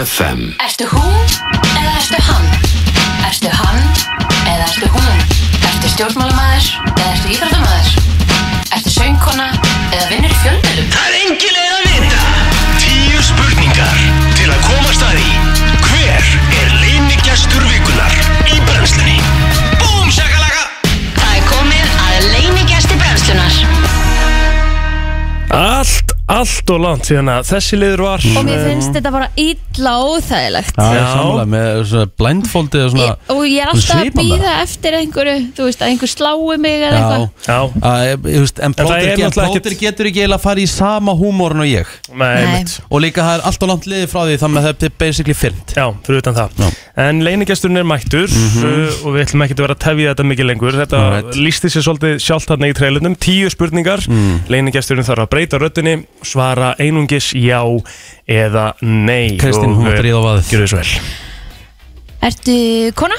FM Ertu hún eða ertu hann? Ertu hann eða ertu hún? Ertu stjórnmálamaður eða ertu íþróttamæður? Ertu söngkona allt og langt síðan að þessi liður var og mér finnst þetta bara illa óþægilegt Já, já. Samlega, með svona blindfoldi og svona og ég er alltaf að Svipað með býða eftir einhverju þú veist, að einhver slái mig eða eitthvað Já Að, ég- ég veist, En það er plóter get, náttúrulega ekkert- getur ekki eiginlega að fara í sama húmórn og ég Nei, Nei. einmitt. Og líka það er allt og langt liðið frá því Þannig að þetta er basically fyrnt Já, fyrir utan það Já. Mhm. En leinigesturinn er mættur uh, og við ætlum ekki að vera að tefja þetta mikið lengur Þetta Alright. lísti sér svolítið sjálft þarna í treilunum Tíu spurningar mm. Leinigesturinn þarf að breyta röddunni svara einungis já eða nei Kristín, Og, hún uh, átt ríða á vaðið Gjörðu svo <laughs> vel Ertu kona?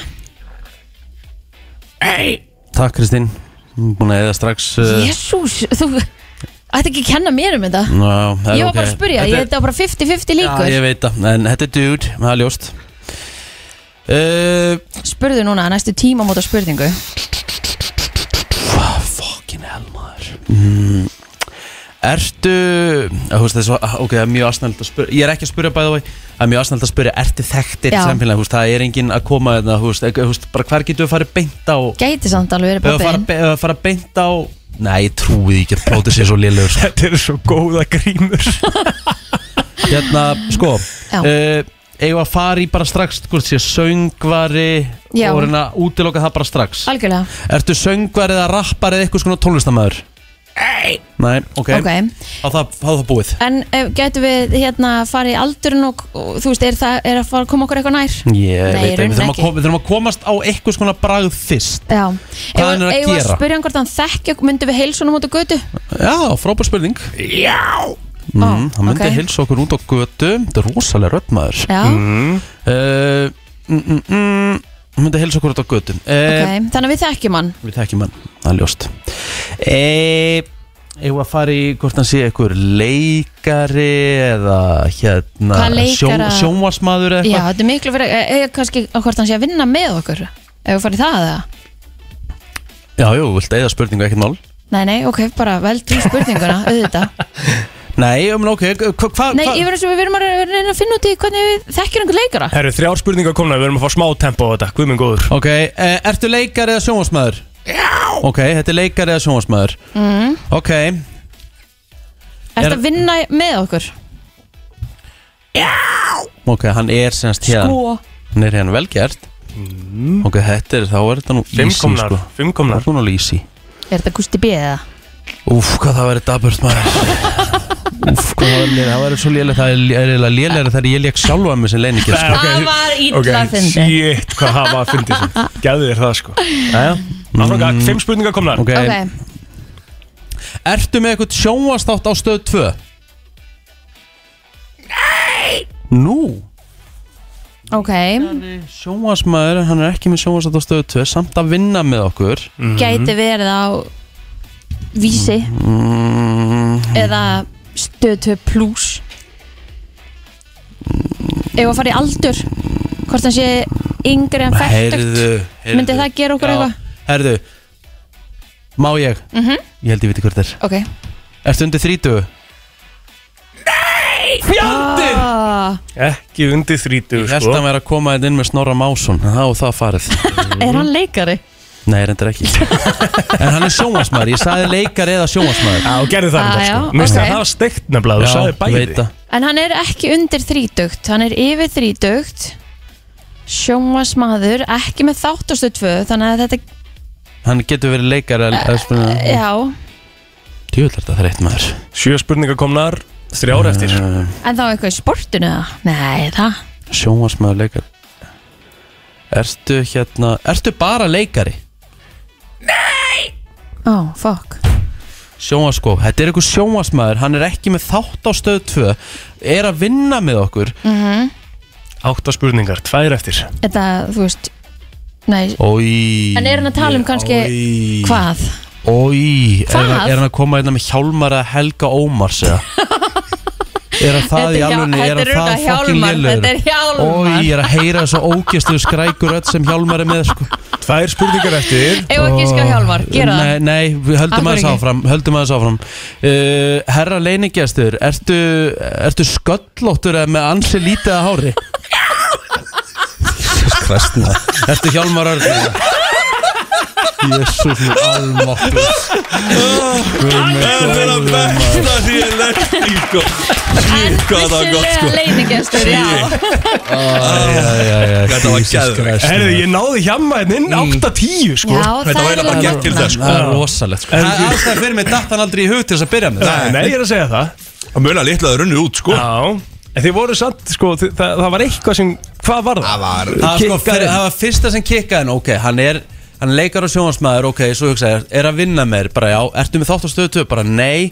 Takk Kristín, Hún er búin að eða strax uh, Jésús, þú ætti ekki að kenna mér um þetta ná, það er Ég var ok. bara að spyrja, Þetta ég er- þetta var bara 50-50 Já, ég líkur veit það, en þetta er dude, það er ljóst uh, Spurðu núna næstu tíma móta spurningu Fucking hell, maður mm. Ertu að, þú veist, það er svo, ah, ok, það er mjög asnælt að spyrja Ég er ekki að spyrja bæða vei Það er mjög asnælt að spyrja, ertu þekktir Já. samfélag þú veist, Það er enginn að koma þarna, þú veist, ekki- þú veist, bara hver getur við farið beint á Gæti samt alveg Ef verið að fara, pappin be- ef að fara beint á Nei, ég trúið ekki að plóti sér svo lélegur sko. Þetta eru svo góða grímur <laughs> Hérna, sko Já. uh, Eigum að fara í bara strax Hvort sé söngvari Já. Og reyna að útiloka það bara strax Algjörlega, Ertu söngvar eða rappar eða eitthvað svona tónlistamæður? Nei, ok, ok Þá það, þá það búið En eh, gætu við hérna farið í aldurinn og, og þú veist, er það er að fara að koma okkur eitthvað nær? Ég Nei, veit í ekki, rauninni við þurfum, að ekki. kom, við þurfum að komast á eitthvað svona bragð fyrst Já Hvað hann er að Eigum við gera? spyrja hann hvort hann þekki okkur, myndum við heilsunum út á götu? Já, frábær spurning Mm, mm, Það myndi heilsa Mm. okkur út á götu Þetta er rosalega röddmaður Já, uh, mm, mm, mm, Hún myndi heilsa okkur út á götu ok, uh, þannig að við þekkjum hann Við þekkjum hann, það er ljóst Eh, Eigum við að fara í hvort hann sé eitthvað leikari eða hérna Hvaða leikara? sjónvarsmaður eða Já, eitthvað þetta er miklu fyrir, eða kannski á hvort hann sé að vinna með okkur Ef við farið það eða? Já, jú, vilt eða spurningu ekkert mál Nei, nei, ok, bara vel til <laughs> spurninguna, auðvitað Nei, um, ok, hvað hva, hva, Nei, ég verður sem við verum að reyna að finna út í hvernig við þekkjum einhver leikara Það eru þrjár spurningar komna, við erum að fá smá tempo á þetta Guð minn góður Ok, eh, ertu leikari eða sjónvarsmaður? Já Ok, þetta er leikari eða sjónvarsmaður mm. Ok, Er Er- þetta að vinna með okkur? ok, hann er semst hérna Sko, Hann er hérna vel gert Ok, þetta er, þá er þetta nú Fimm easy komnar, sko. fimm Það komnar er nú alveg easy er þetta Gusti B eða? Úf, hvað það verður daburt <laughs> maður Úf, hvað það verður, það verður svo lélega Það er eiginlega lélega þegar ég lék sjálfa mig sem leiningi sko. Það var illa okay, fyndið. Shit, hvað það var fyndið <laughs> sem Gæði þér það sko Jæja, áfram gang, fimm spurningar komnar Mm. Ok, Ok, ertu með eitthvað sjónvastátt á stöð 2? Nei Nú? ok, Sjónvarsmaður, hann er ekki með sjónvarstátt á stöð 2 Samt að vinna með okkur gæti verið á Vísi Eða Stötu Plus Ef að fara í aldur Hvort hann sé yngri en fættugt Herðu, herðu Myndi það gera okkur Já, eitthvað? Herðu, má ég? Mhm. Ég held ég viti hvort það er Ok Ertu undir 30? ah, Ekki undir þrítu Ég held sko að mér að koma þetta inn með Snorra Másson Það og það farið <laughs> Er hann leikari? Nei, reyndar ekki En hann er sjónvarsmaður, ég sagði leikar eða sjónvarsmaður Já, og gerði það Ah, reyndar, já, sko. Mér finnst ok. að það var steikt nefnilega, þú sagði bæði veit það En hann er ekki undir þrítugt, hann er yfir þrítugt sjónvasmaður, ekki með þáttastu tvö, þannig að þetta, Hann getur verið leikar Djúvel Eh, já, er þetta þreitt maður Eh, Sjö spurningar komnar, þrjár eftir en þá eitthvað í sportinu eða? Nei, það, Sjónvarsmaður, leikar Ertu hérna Ertu bara leikari? ó, oh, fuck Sjónvarsko, sko. þetta er eitthvað sjónvarsmaður Hann er ekki með þátt á stöð 2 Er að vinna með okkur Átta spurningar, tvær eftir Þetta, þú veist, nei Ói En er hann að tala um kannski, hvað? Ói, er, Hvað? hann- er hann að koma einna með Hjálmar eða Helga Ómars <laughs> eða? Er hann það í Þetta er hjá- alvegni, er þetta hann það er örugglega fokkin Hjálmar, lélur? þetta er Hjálmar. Ói, ég er að heyra þessu ógjastu skrækur öll sem Hjálmar er með sko. Tvær spurningar eftir Ef að gíska á Hjálmar, gera það Nei, nei, við höldum Af hverju aðeins ekki? áfram, höldum aðeins áfram. Uh, Herra leinigestur, ertu, ertu sköllóttur eða með ansi lítið að hári? Jesus Christ, maður. Ertu Hjálmar Örn? eða? Jésús minn almáttur Það er að besta því ég lest í sko Svík hvað það var gott sko Vissulega leinigestur, já Þetta var gæðvegt Herðu, ég náði hjamma hérna inn 8-10 sko Já, Þetta það var eiginlega er bara alveg- gert til þess sko Það er rosalegt sko. Það er alltaf fyrir mig datt hann aldrei í hug til þess að byrja með Nei, ég er að segja það Og mjöla litlaður runni út sko Já En þið voru samt, sko, þið, það, það var eitthvað sem, hvað var það? Það var Það var, sko, Kikkaði. fyrir, það var fyrsta sem kikkaði hann Ok, hann er hann er leikar og sjónvarsmaður Ok, svo hugsaði, ég, er að vinna meir Bara já, ertu með þátt á stöðu 2? Bara nei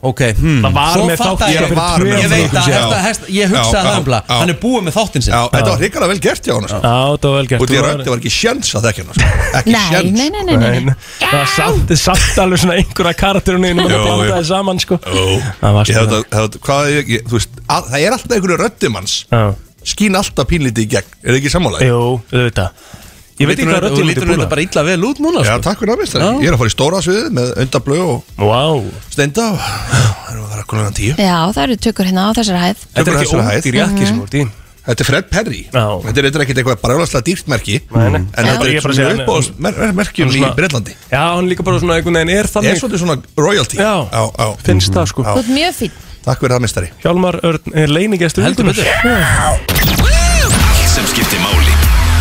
Ok, hmm Það var Svo með fattaði þátt ég- fyrir var tvö með- Ég árum. veit að, Já. hesta, hesta, ég hugsaði Já, það já, nefnilega já. Hann er búið með þáttinn Já, sinn þetta var hrikalega vel gert hjá hann sko Já, það var vel gert Og þú þér var- ætti var ekki sjens að þekka hann sko Ekki Nei, sjens nei, nei, nei, nei, nei. Það var samt, þið samt alveg svona einhverja karakterinu innum að Jú, blanda jú. þið saman, sko Það var Ég svona. hef þetta- hef þetta- hvað ég- ég- þú veist, að- Það er alltaf einhverju röddum hans Já, Skín alltaf pínlítið í gegn Er það ekki sammálaði? jú, auðvitað Ég veit ekki hvað Þú röddum myndi lítur nú þetta búla bara illa vel út núna Já, sko. takk fyrir að mista Ég er að fara í stóra sviðið með undablöð og Vá, steinda og það er að vera konan tíu Já, það eru tökur hérna á þessari hæð þetta er Tökur ekki þessara hæð. ódýr jakki Mhm. sem voru dýn Þetta er Fred Perry Já. Þetta er eitthvað ekkert eitthvað brjálagslega dýrt merki nei. Mm. En þetta Já. Ég er er bara að segja, svona uppáðsmerkjum í Svona- Breitlandi Já, hann er líka bara svona einhvern veginn Er er þannig svolítið svona royalty Já. já, Finnst Mm. það, sko Já. Þú ert mjög fín Takk fyrir það mistari Hjálmar Örn er leinigestur Heldur vikunnar. betur. Já. Allt sem skiptir máli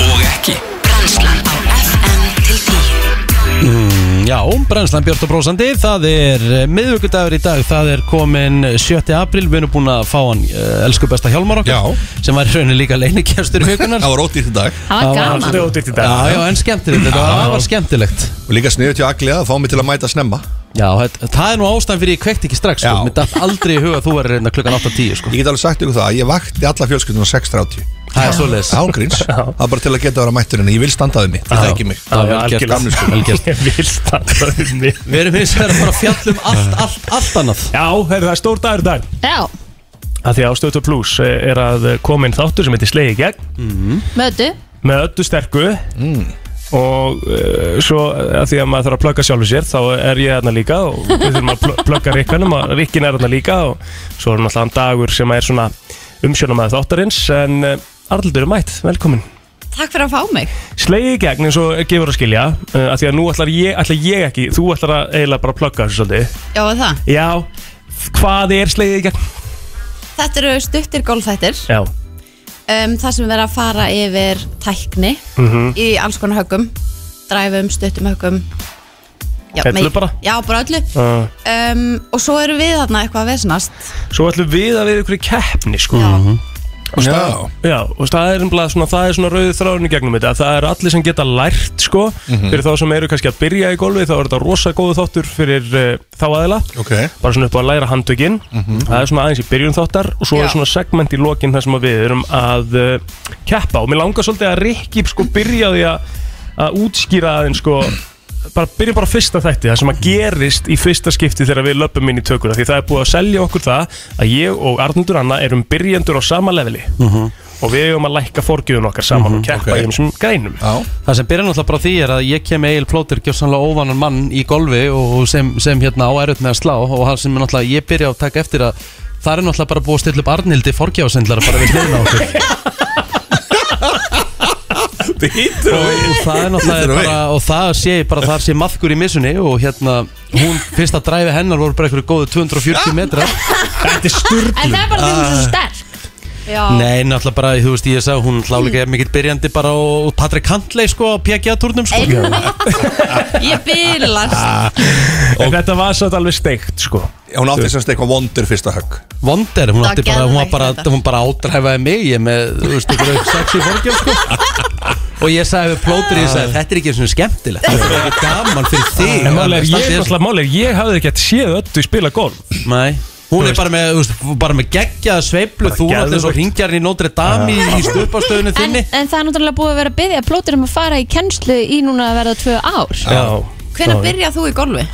og ekki Brænslan á FM til 10 Já, brennslan Björn og Brósandi Það er miðvíkudagur í dag Það er komin 7. april Við erum búin að fá hann uh, elsku besta Hjálmar okkar Já. sem var í rauninni líka leinikjastur í <laughs> hugunar Það var ódýrt í dag Það var gaman Allt er ódýrt í dag Já, já, en skemmtilegt, þetta var afar skemmtilegt Og líka sniður til Agli að fá mig til að mæta snemma Já, þetta- það er nú ástæðan fyrir ég kveikt ekki strax sko. Já. Mér dætt aldrei í huga að þú verður reynda klukkan 8.10 sko. Ég get alveg sagt ykkur það Ég vakti alla fjölskyldunum á 6.30 Það er svoleiðis <laughs> Ángríns Það er bara til að geta að vera mættur En ég vil standaði mig Það ekki mig Það er Já, vel gert, sko, algjörlega. vel gert <laughs> Ég vil standa um mig Við erum hins vegar að fara að fjalla um allt, allt, allt annað Já, heyrðu, það er stór dagur í dag Já, að því ástöðutur pluss eh, er að koma inn þáttur sem heitir Slegi gegn mötu með öllu sterku og uh, svo að því að maður þarf að plugga sjálfur sér þá er ég hérna líka og við þurfum að pl- plugga Rikkanum og Rikkin er hérna líka og svo er náttúrulega hann dagur sem er svona umsjónamaður þáttarins en uh, Arldur er mætt, velkomin Takk fyrir að fá mig Slegi í gegn eins og gefur að skilja uh, að því að nú ætlar ég, ætlar ég ekki þú ætlar að eiginlega bara að plugga þessu svolítið Já, og það Já, hvað er slegið í gegn? Þetta eru stuttir gólfþættir Já, um, Það sem verður að fara yfir tækni Í alls konar höggum Dræfum, stuttum höggum já, Öllu mei- bara? Já, bara öllu uh, um, Og svo erum við þarna eitthvað að vesnast svo ætlum við að vera ykkur í keppni sko Já, Já Já, og það er umlað svona, það er svona rauðið þráðurinn í gegnum þetta, að það er allir sem geta lært, sko, fyrir þá sem eru kannski að byrja í golfi, þá er þetta rosa góðu þáttur fyrir uh, þá aðila, Ok bara svona upp á að læra handtökin, það er svona aðeins í byrjun þáttar og svo er Já. svona segment í lokin þar sem að við erum að uh, keppa og mér langar svolítið að Rikki, sko, byrja á því að, að útskýra aðeins, sko, bara byrjum bara á fyrsta þætti, það sem að gerist í fyrsta skipti þegar við löpum inn í tökuna, því það er búið að selja okkur það að ég og Arnundur Anna erum byrjendur á sama leveli og við eigum að lækka forgjöfun okkar saman og ok. keppa Ah, í þessum greinum Já Það sem byrja náttúrulega bara á því er að ég kem með Egil Plóter gjössanlega óvanan mann í golfi og sem, sem hérna á erut með að slá og það sem er náttúrulega ég byrja að taka eftir að það er náttúrulega bara búið að stilla upp Arnildi forgjáðsendlar bara við hliðina á okkur Bítur og það er náttúrulega Þetta er bara, og það sé ég bara þar sé maðkur í missunni og hérna hún fyrsta dræfi hennar voru bara einhverju góðu 240 metrar Þetta er styrlu En það er bara því hún er svo sterk Já, nei náttúrulega bara þú veist ég sagði hún hlálega er mikill byrjandi bara og, og Patrik Handley sko á PGA-turnum sko einmitt <laughs> Ég byrlast En þetta var satt alveg steikt, sko Hún átti semst eitthvað vondur fyrsta högg Vonder, hún Það átti bara, hún var geðveikt bara, þetta. hún bara ádræfaði mig ég með, þú veist, einhverju <laughs> sexy fórgjum sko. og ég sagði við plótur ég sagði, þetta er ekki eins og skemmtilegt þetta er ekki gaman fyrir þig En Standa máli er, ég, í þessu. náttúrulega, máli er, ég hafði ekki að séð öllu spila golf Nei Hún er bara með, þú veist, bara með geggjaða sveiflu Þú er alltaf svo geðveikt. ringjarinn í Notre Dame í, í stupastöðunni en, þinni en það er náttúrulega búið að vera að byrja plótir um að fara í kennslu í núna að verða tvö ár Já Hvenær byrjað þú í golfi?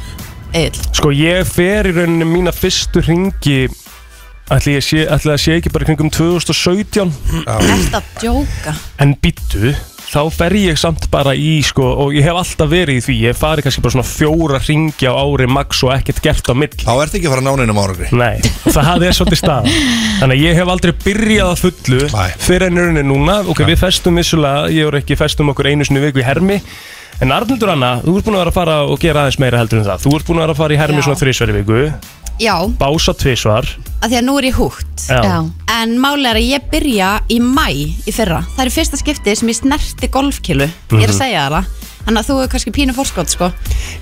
Egil Sko, ég fer í rauninni mína fyrstu ringi Ætli, ég sé, ætli að sé ekki bara í kringum 2017 Ertu að djóka? En býttu, þá fer ég samt bara í sko, og ég hef alltaf verið í því ég fari kannski bara svona fjóra ringi á ári max og ekkert gert á mill Þá ertu ekki að fara að ná neinum árangri Nei, það er svolítið staðan Þannig að ég hef aldrei byrjað að fullu Nei. fyrir en rauninni núna, ok, við festum vissulega, ég og ekki festum okkur einu sinni í viku í hermi En Arnundur Anna, þú ert búin að vera að fara og gera aðeins meira heldur en það Þú ert búin að vera að fara í hermi Já. svona þrísvar í viku Já, Bása tvísvar af því að nú er ég húgt Já. Já. En málega er að ég byrja í mæ í fyrra Það er í fyrsta skiptið sem ég snerti golfkilu Ég er Mhm. að segja þér það Þannig að þú er kannski pínu fórskot sko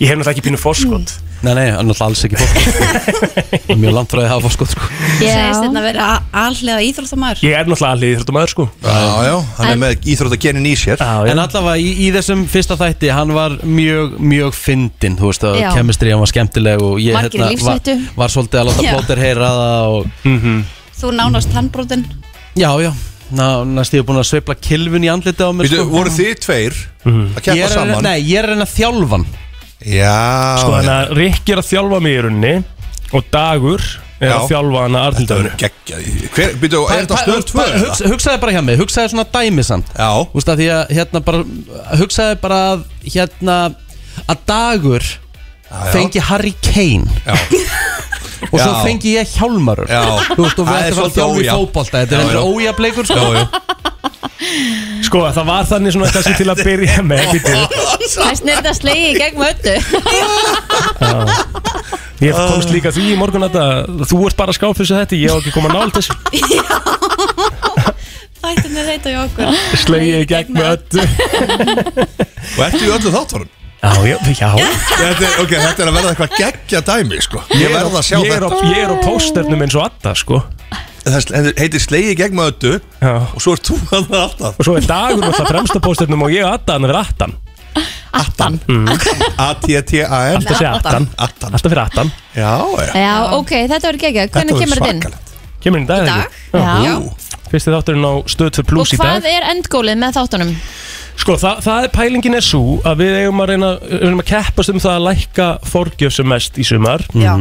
Ég hef náttúrulega ekki pínu fórskot Nei, nei, hann er náttúrulega alls ekki fórskot Mjög langt frá því að hafa fórskot sko. Segist þetta hérna að vera allega íþróttamæður Ég er náttúrulega allir íþróttamæður sko Já, já, hann er með íþróttagenin í sér En allavega í, í þessum fyrsta þætti Hann var mjög, mjög fyndin Þú veist að Já. kemistri hann var skemmtileg og ég, hérna, Margir í var, lífshættu. var svolítið að láta Já. plóter heyra það og, Þú nánast tannbrotin Já, já Ná, næst ég er búin að sveifla kilfun í andliti á mér sko. Veitu, voru þið tveir að keppa Mhm. Ég er að reyna- saman? Nei, ég er að reyna að þjálfa hann Já Sko þannig að Rikki er að þjálfa mig í runni Og Dagur er Já. að þjálfa hana Arnundur Hver, byrju, er þetta stöð tvö eða? Hugsa, hugsaði bara hjá mig, hugsaði svona dæmi samt Já Þú veist að því að hérna bara Hugsaði bara að hérna Að dagur já. Fengi Harry Kane Já Og svo Já. fengi ég Hjálmarur Já. <laughs> Þú veist og við Það er ættum að svolítið þjálfa í ójafn. fótbolta Já, Þetta er já. endur ójafleikur sko Já, já. Sko það var þannig svona kannski til að byrja með bíddu. Það er snert að slegi í gegn möttu Ég komst líka því í morgun að það Þú ert bara skáfis að þetta Ég á ekki koma nált <laughs> þessu Þættin er reyta í okkur Slegið í gegn með öllu Og ertu í öllu þáttunum? Já, já, já Þetta er, ok, þetta er að verða eitthvað geggja dæmi, sko Ég verð að sjá ég er á, þetta ég er á pósternum eins og Adda sko Það heitir slegi gegn með öttu Og svo er þú að það alltaf Og svo er dagur alltaf fremst á pósternum og ég og Adda hann er Attan Attan Mhm. A-T-T-A-N Alltaf sé Attan Alltaf fyrir Attan Já, Eh, Já, ok, þetta verður geggjað Hvernig kemur þetta inn? Kemur þetta inn í dag? Í dag, já. Fyrsti þátturinn á stöð fyrir Og pluss í dag hvað er endgólið með þáttunum? Sko, það, það er pælingin er svo að við eigum að reyna, reyna að keppast um það að lækka forgjöf sem mest í sumar Já.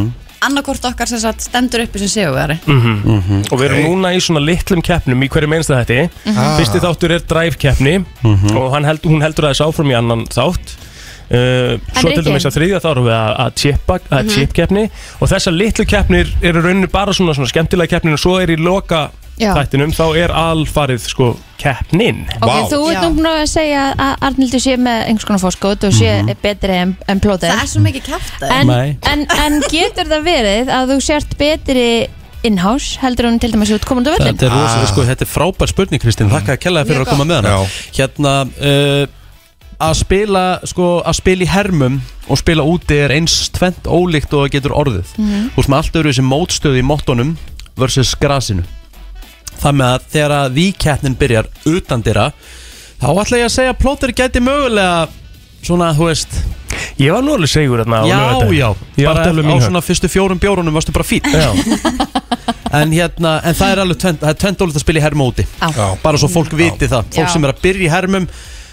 Annarkort okkar sem sagt stendur uppi sem séuveri -hmm. Og við erum núna í svona litlum keppnum í hverju meinsta þetta Mhm. Ah. Fyrsti þáttur er drive keppni Mhm. og hann held, hún heldur aðeins áfram í annan þátt Uh, svo til Rikki? dæmis að þriðja þá erum við að- að chippa að Mhm. chip keppni og þessar litlu keppnir eru rauninu bara svona, svona skemmtilega keppnir og svo er í loka Já. þættinum þá er alfarið sko keppnin Ok, þú ert nú búin að segja að Arnildur sé með einhvers konar fórskot og sé betri en, en plóter Það er svo mikið kæft en, Nei. en, en getur það verið að þú sért betri in-house heldur hún til dæmis út komandi á völlin Þetta er, rosa, sko, þetta er frábær spurning Kristín Þakka að kella fyrir Mjög að koma með hana Hérna uh, Að spila sko, að spila í hermum Og spila úti er eins tvent ólíkt Og það getur orðið Mhm. Þú veist maður alltaf eru þessi mótstöð í móttunum Versus grasinu Það með að þegar að víkeppnin byrjar Utan dyrra Þá ætla ég að segja að plóter gæti mögulega Svona, þú veist Ég var nú alveg segur þarna á Já, laugardaginn. já, Ég átti bara alveg mín á högg. svona fyrstu fjórum bjórunum varstu bara fít <laughs> en, hérna, en það er alveg tvent, það er tvent ólíkt að spila í hermu úti Já. bara svo fólk viti það fólk Já. sem er að byrja í hermum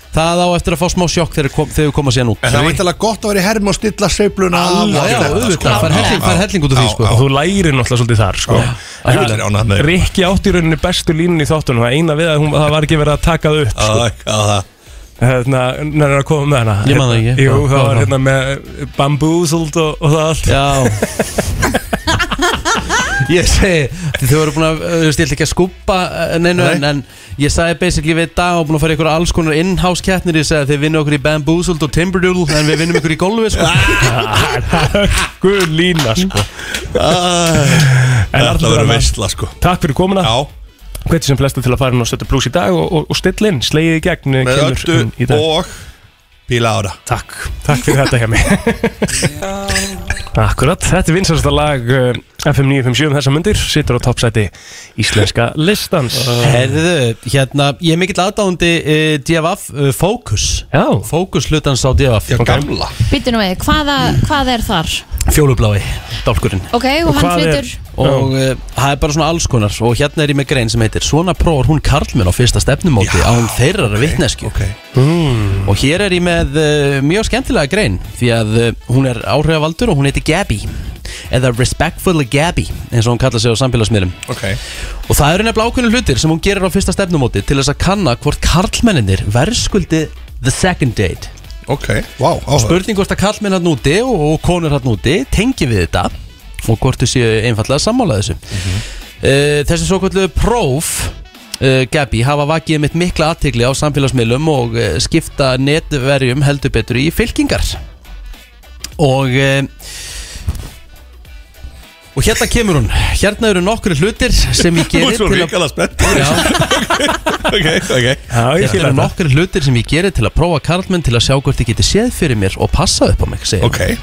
það á eftir að fá smá sjokk þegar, kom, þegar við koma síðan út En það er væntanlega gott að vera í herm og stilla sveifluna af Já, og já, allt þetta, auðvitað, sko. fær helling- fær helling út úr því, Já, sko. já. og þú lærir náttúrulega svolítið þar sko. Ég er ánægð með þig. Rikki átti í rauninni bestu línun í þáttunum það eina við að hún, það var ekki verið að taka það upp sko. hérna, hann er að koma með hana Ég man það ekki. Jú, Hvað- það hvað var var hérna með bamboozled og, og það allt Já Ég segi, þið voru búin að, þú veist, ég ætla ekki að skúpa eh, neinu Nei. en, en ég sagði basically við dag og búin að fara í ykkur alls konar in-house keppnir ég segi að þið vinnum okkur í bamboozled og timberdoodle en við vinnum ykkur í golfi sko. Guð lína Mm. sko En Þetta Arnaldur verður Anna, veistla, sko. Takk fyrir komuna Já Hveti sem flesta til að fara inn og setja pluss í dag og, og, og stilla inn, slegið í gegn eh, Með kemur öllu inn í dag. og bíla ára Takk, takk fyrir þetta hjá mig <laughs> Akkurat, þetta er vinsasta lag uh, FM 957 um þessa myndir Sittur á toppsæti íslenska listans Herðu, hérna, ég er mikill aðdáðandi uh, DFF uh, Focus Já Focus hlutans á DFF Já, gamla Býtu nú við, hvaða, hvað er þar? Fjólublái, dálkurinn Ok, og, hann flytur Og eh, það er bara svona alls konar Og hérna er ég með grein sem heitir Svona prófar hún Karlmenn á fyrsta stefnumóti án þeirrar vitnesku okay. Og hér er ég með uh, mjög skemmtilega grein Því að uh, hún er áhrifavaldur og hún heitir Gabby Eða Respectfully Gabby eins og hún kallar sig á samfélagsmiðlum okay. Og það eru nefnilega ákveðinu hlutir sem hún gerir á fyrsta stefnumóti Til þess að kanna hvort karlmenninir verðskuldi the second date Ok, wow, og spurning hvort að kallmenn hann úti og, og konur hann úti tengi við þetta Mhm. og hvort þau séu einfallega sammála þessu mm þessi svo kvöldu Eh, próf uh, Gabi hafa vakið mitt mikla aðtegli á samfélagsmiðlum og uh, skipta netverjum heldur betur í fylkingar og uh, og hérna kemur hún hérna eru nokkru hlutir sem <laughs> ég Þú gerir ert svo til að- ríkala spennt ok, <laughs> ok Já, ég fíla Þetta hérna eru þetta. nokkri hlutir sem ég geri til að prófa karlmenn til að sjá hvort þið geti séð fyrir mér og passa upp á mig, segja okay.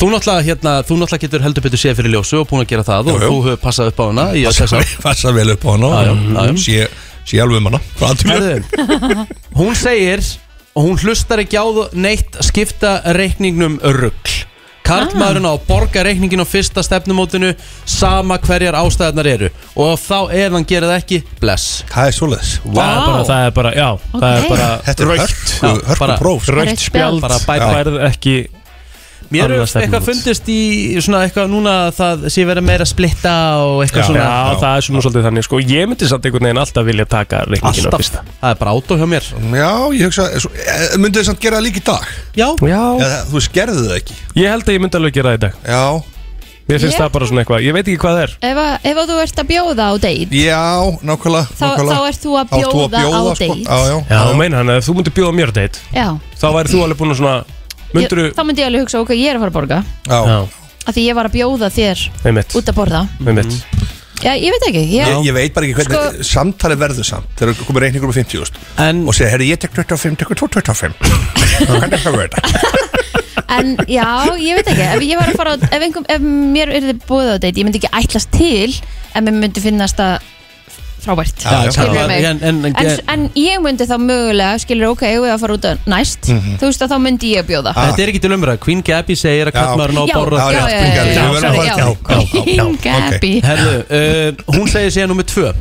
Þú náttúrulega, hérna, þú náttúrulega getur heldur betur séð fyrir ljósu og búin að gera það Jú, og jú. þú hefur passað upp á hana í öll þess að <laughs> Passa vel upp á hana Já, já, já, já. og Sé sé alveg um hana Frá athygli. Hún segir og hún hlustar ekki á þú- neitt skipta reikningnum rugg Karlmaðurinn á að borga reikningin á fyrsta stefnumótinu sama hverjar ástæðarnar eru og þá ef hann gerir það ekki bless Það er svoleiðis Það er bara, það er bara, já Það Ok. er bara Þetta er hörku- hörku próf, sko. Rautt Rögt spjald spjald. Bara bye bye. Færð ekki Mér annað hefur eitthvað stefnumót. fundist í svona eitthvað núna að það sé verið meira að splitta og eitthvað Já, svona já, það er svona svolítið þannig sko Ég myndi samt einhvern veginn alltaf vilja taka reikningin á Alltaf. fyrsta Það er bara átó hjá mér Já, ég hugsa svo- eh, Myndu þið samt gera það líka í dag? Já, já. Eða, Þú skerðu það ekki Ég held að ég myndi alveg gera það í dag Já Mér finnst Ég- það bara svona eitthvað Ég veit ekki hvað það er Ef, að, ef að þú ert að bjóða á date Já, nákvæmlega Þá- nákvæmlega. þá ert þú að Þá ert þú bjóða á sko. date. Já, já, já þú meinar hann að ef þú myndir bjóða mér á date Já Þá væri þú alveg búin að svona Myndir ég, Þá myndi ég alveg hugsa ok, ég er að fara að borga Já Af því ég var að bjóða þér Einmitt út að borða Einmitt Já, ég veit ekki Já, Ég, ég veit bara ekki Sko- hvernig samtalið verður samt þegar komur reikningur um 50 úst, og segja, herri, ég tek 25, tekur 2, 25 hvernig það verður þetta? En já, ég veit ekki Ef ég var að fara á, ef, einhver, ef mér yrði búið á date Ég myndi ekki ætlast til En mér myndi finnast það frábært Já, já, Skilurðu já. mig? En- en- en- en, en ég myndi þá mögulega Skilur ok, ef ég að fara út að næst Mhm. Þú veist að þá myndi ég bjóða Þetta er ekki til umræða, Queen Gabby segir að kallmaðurinn á að Já, borða já, já, já, já, já, sorry, já. Queen Gabby. Herðu, uh, hún segir síðan nummið tvö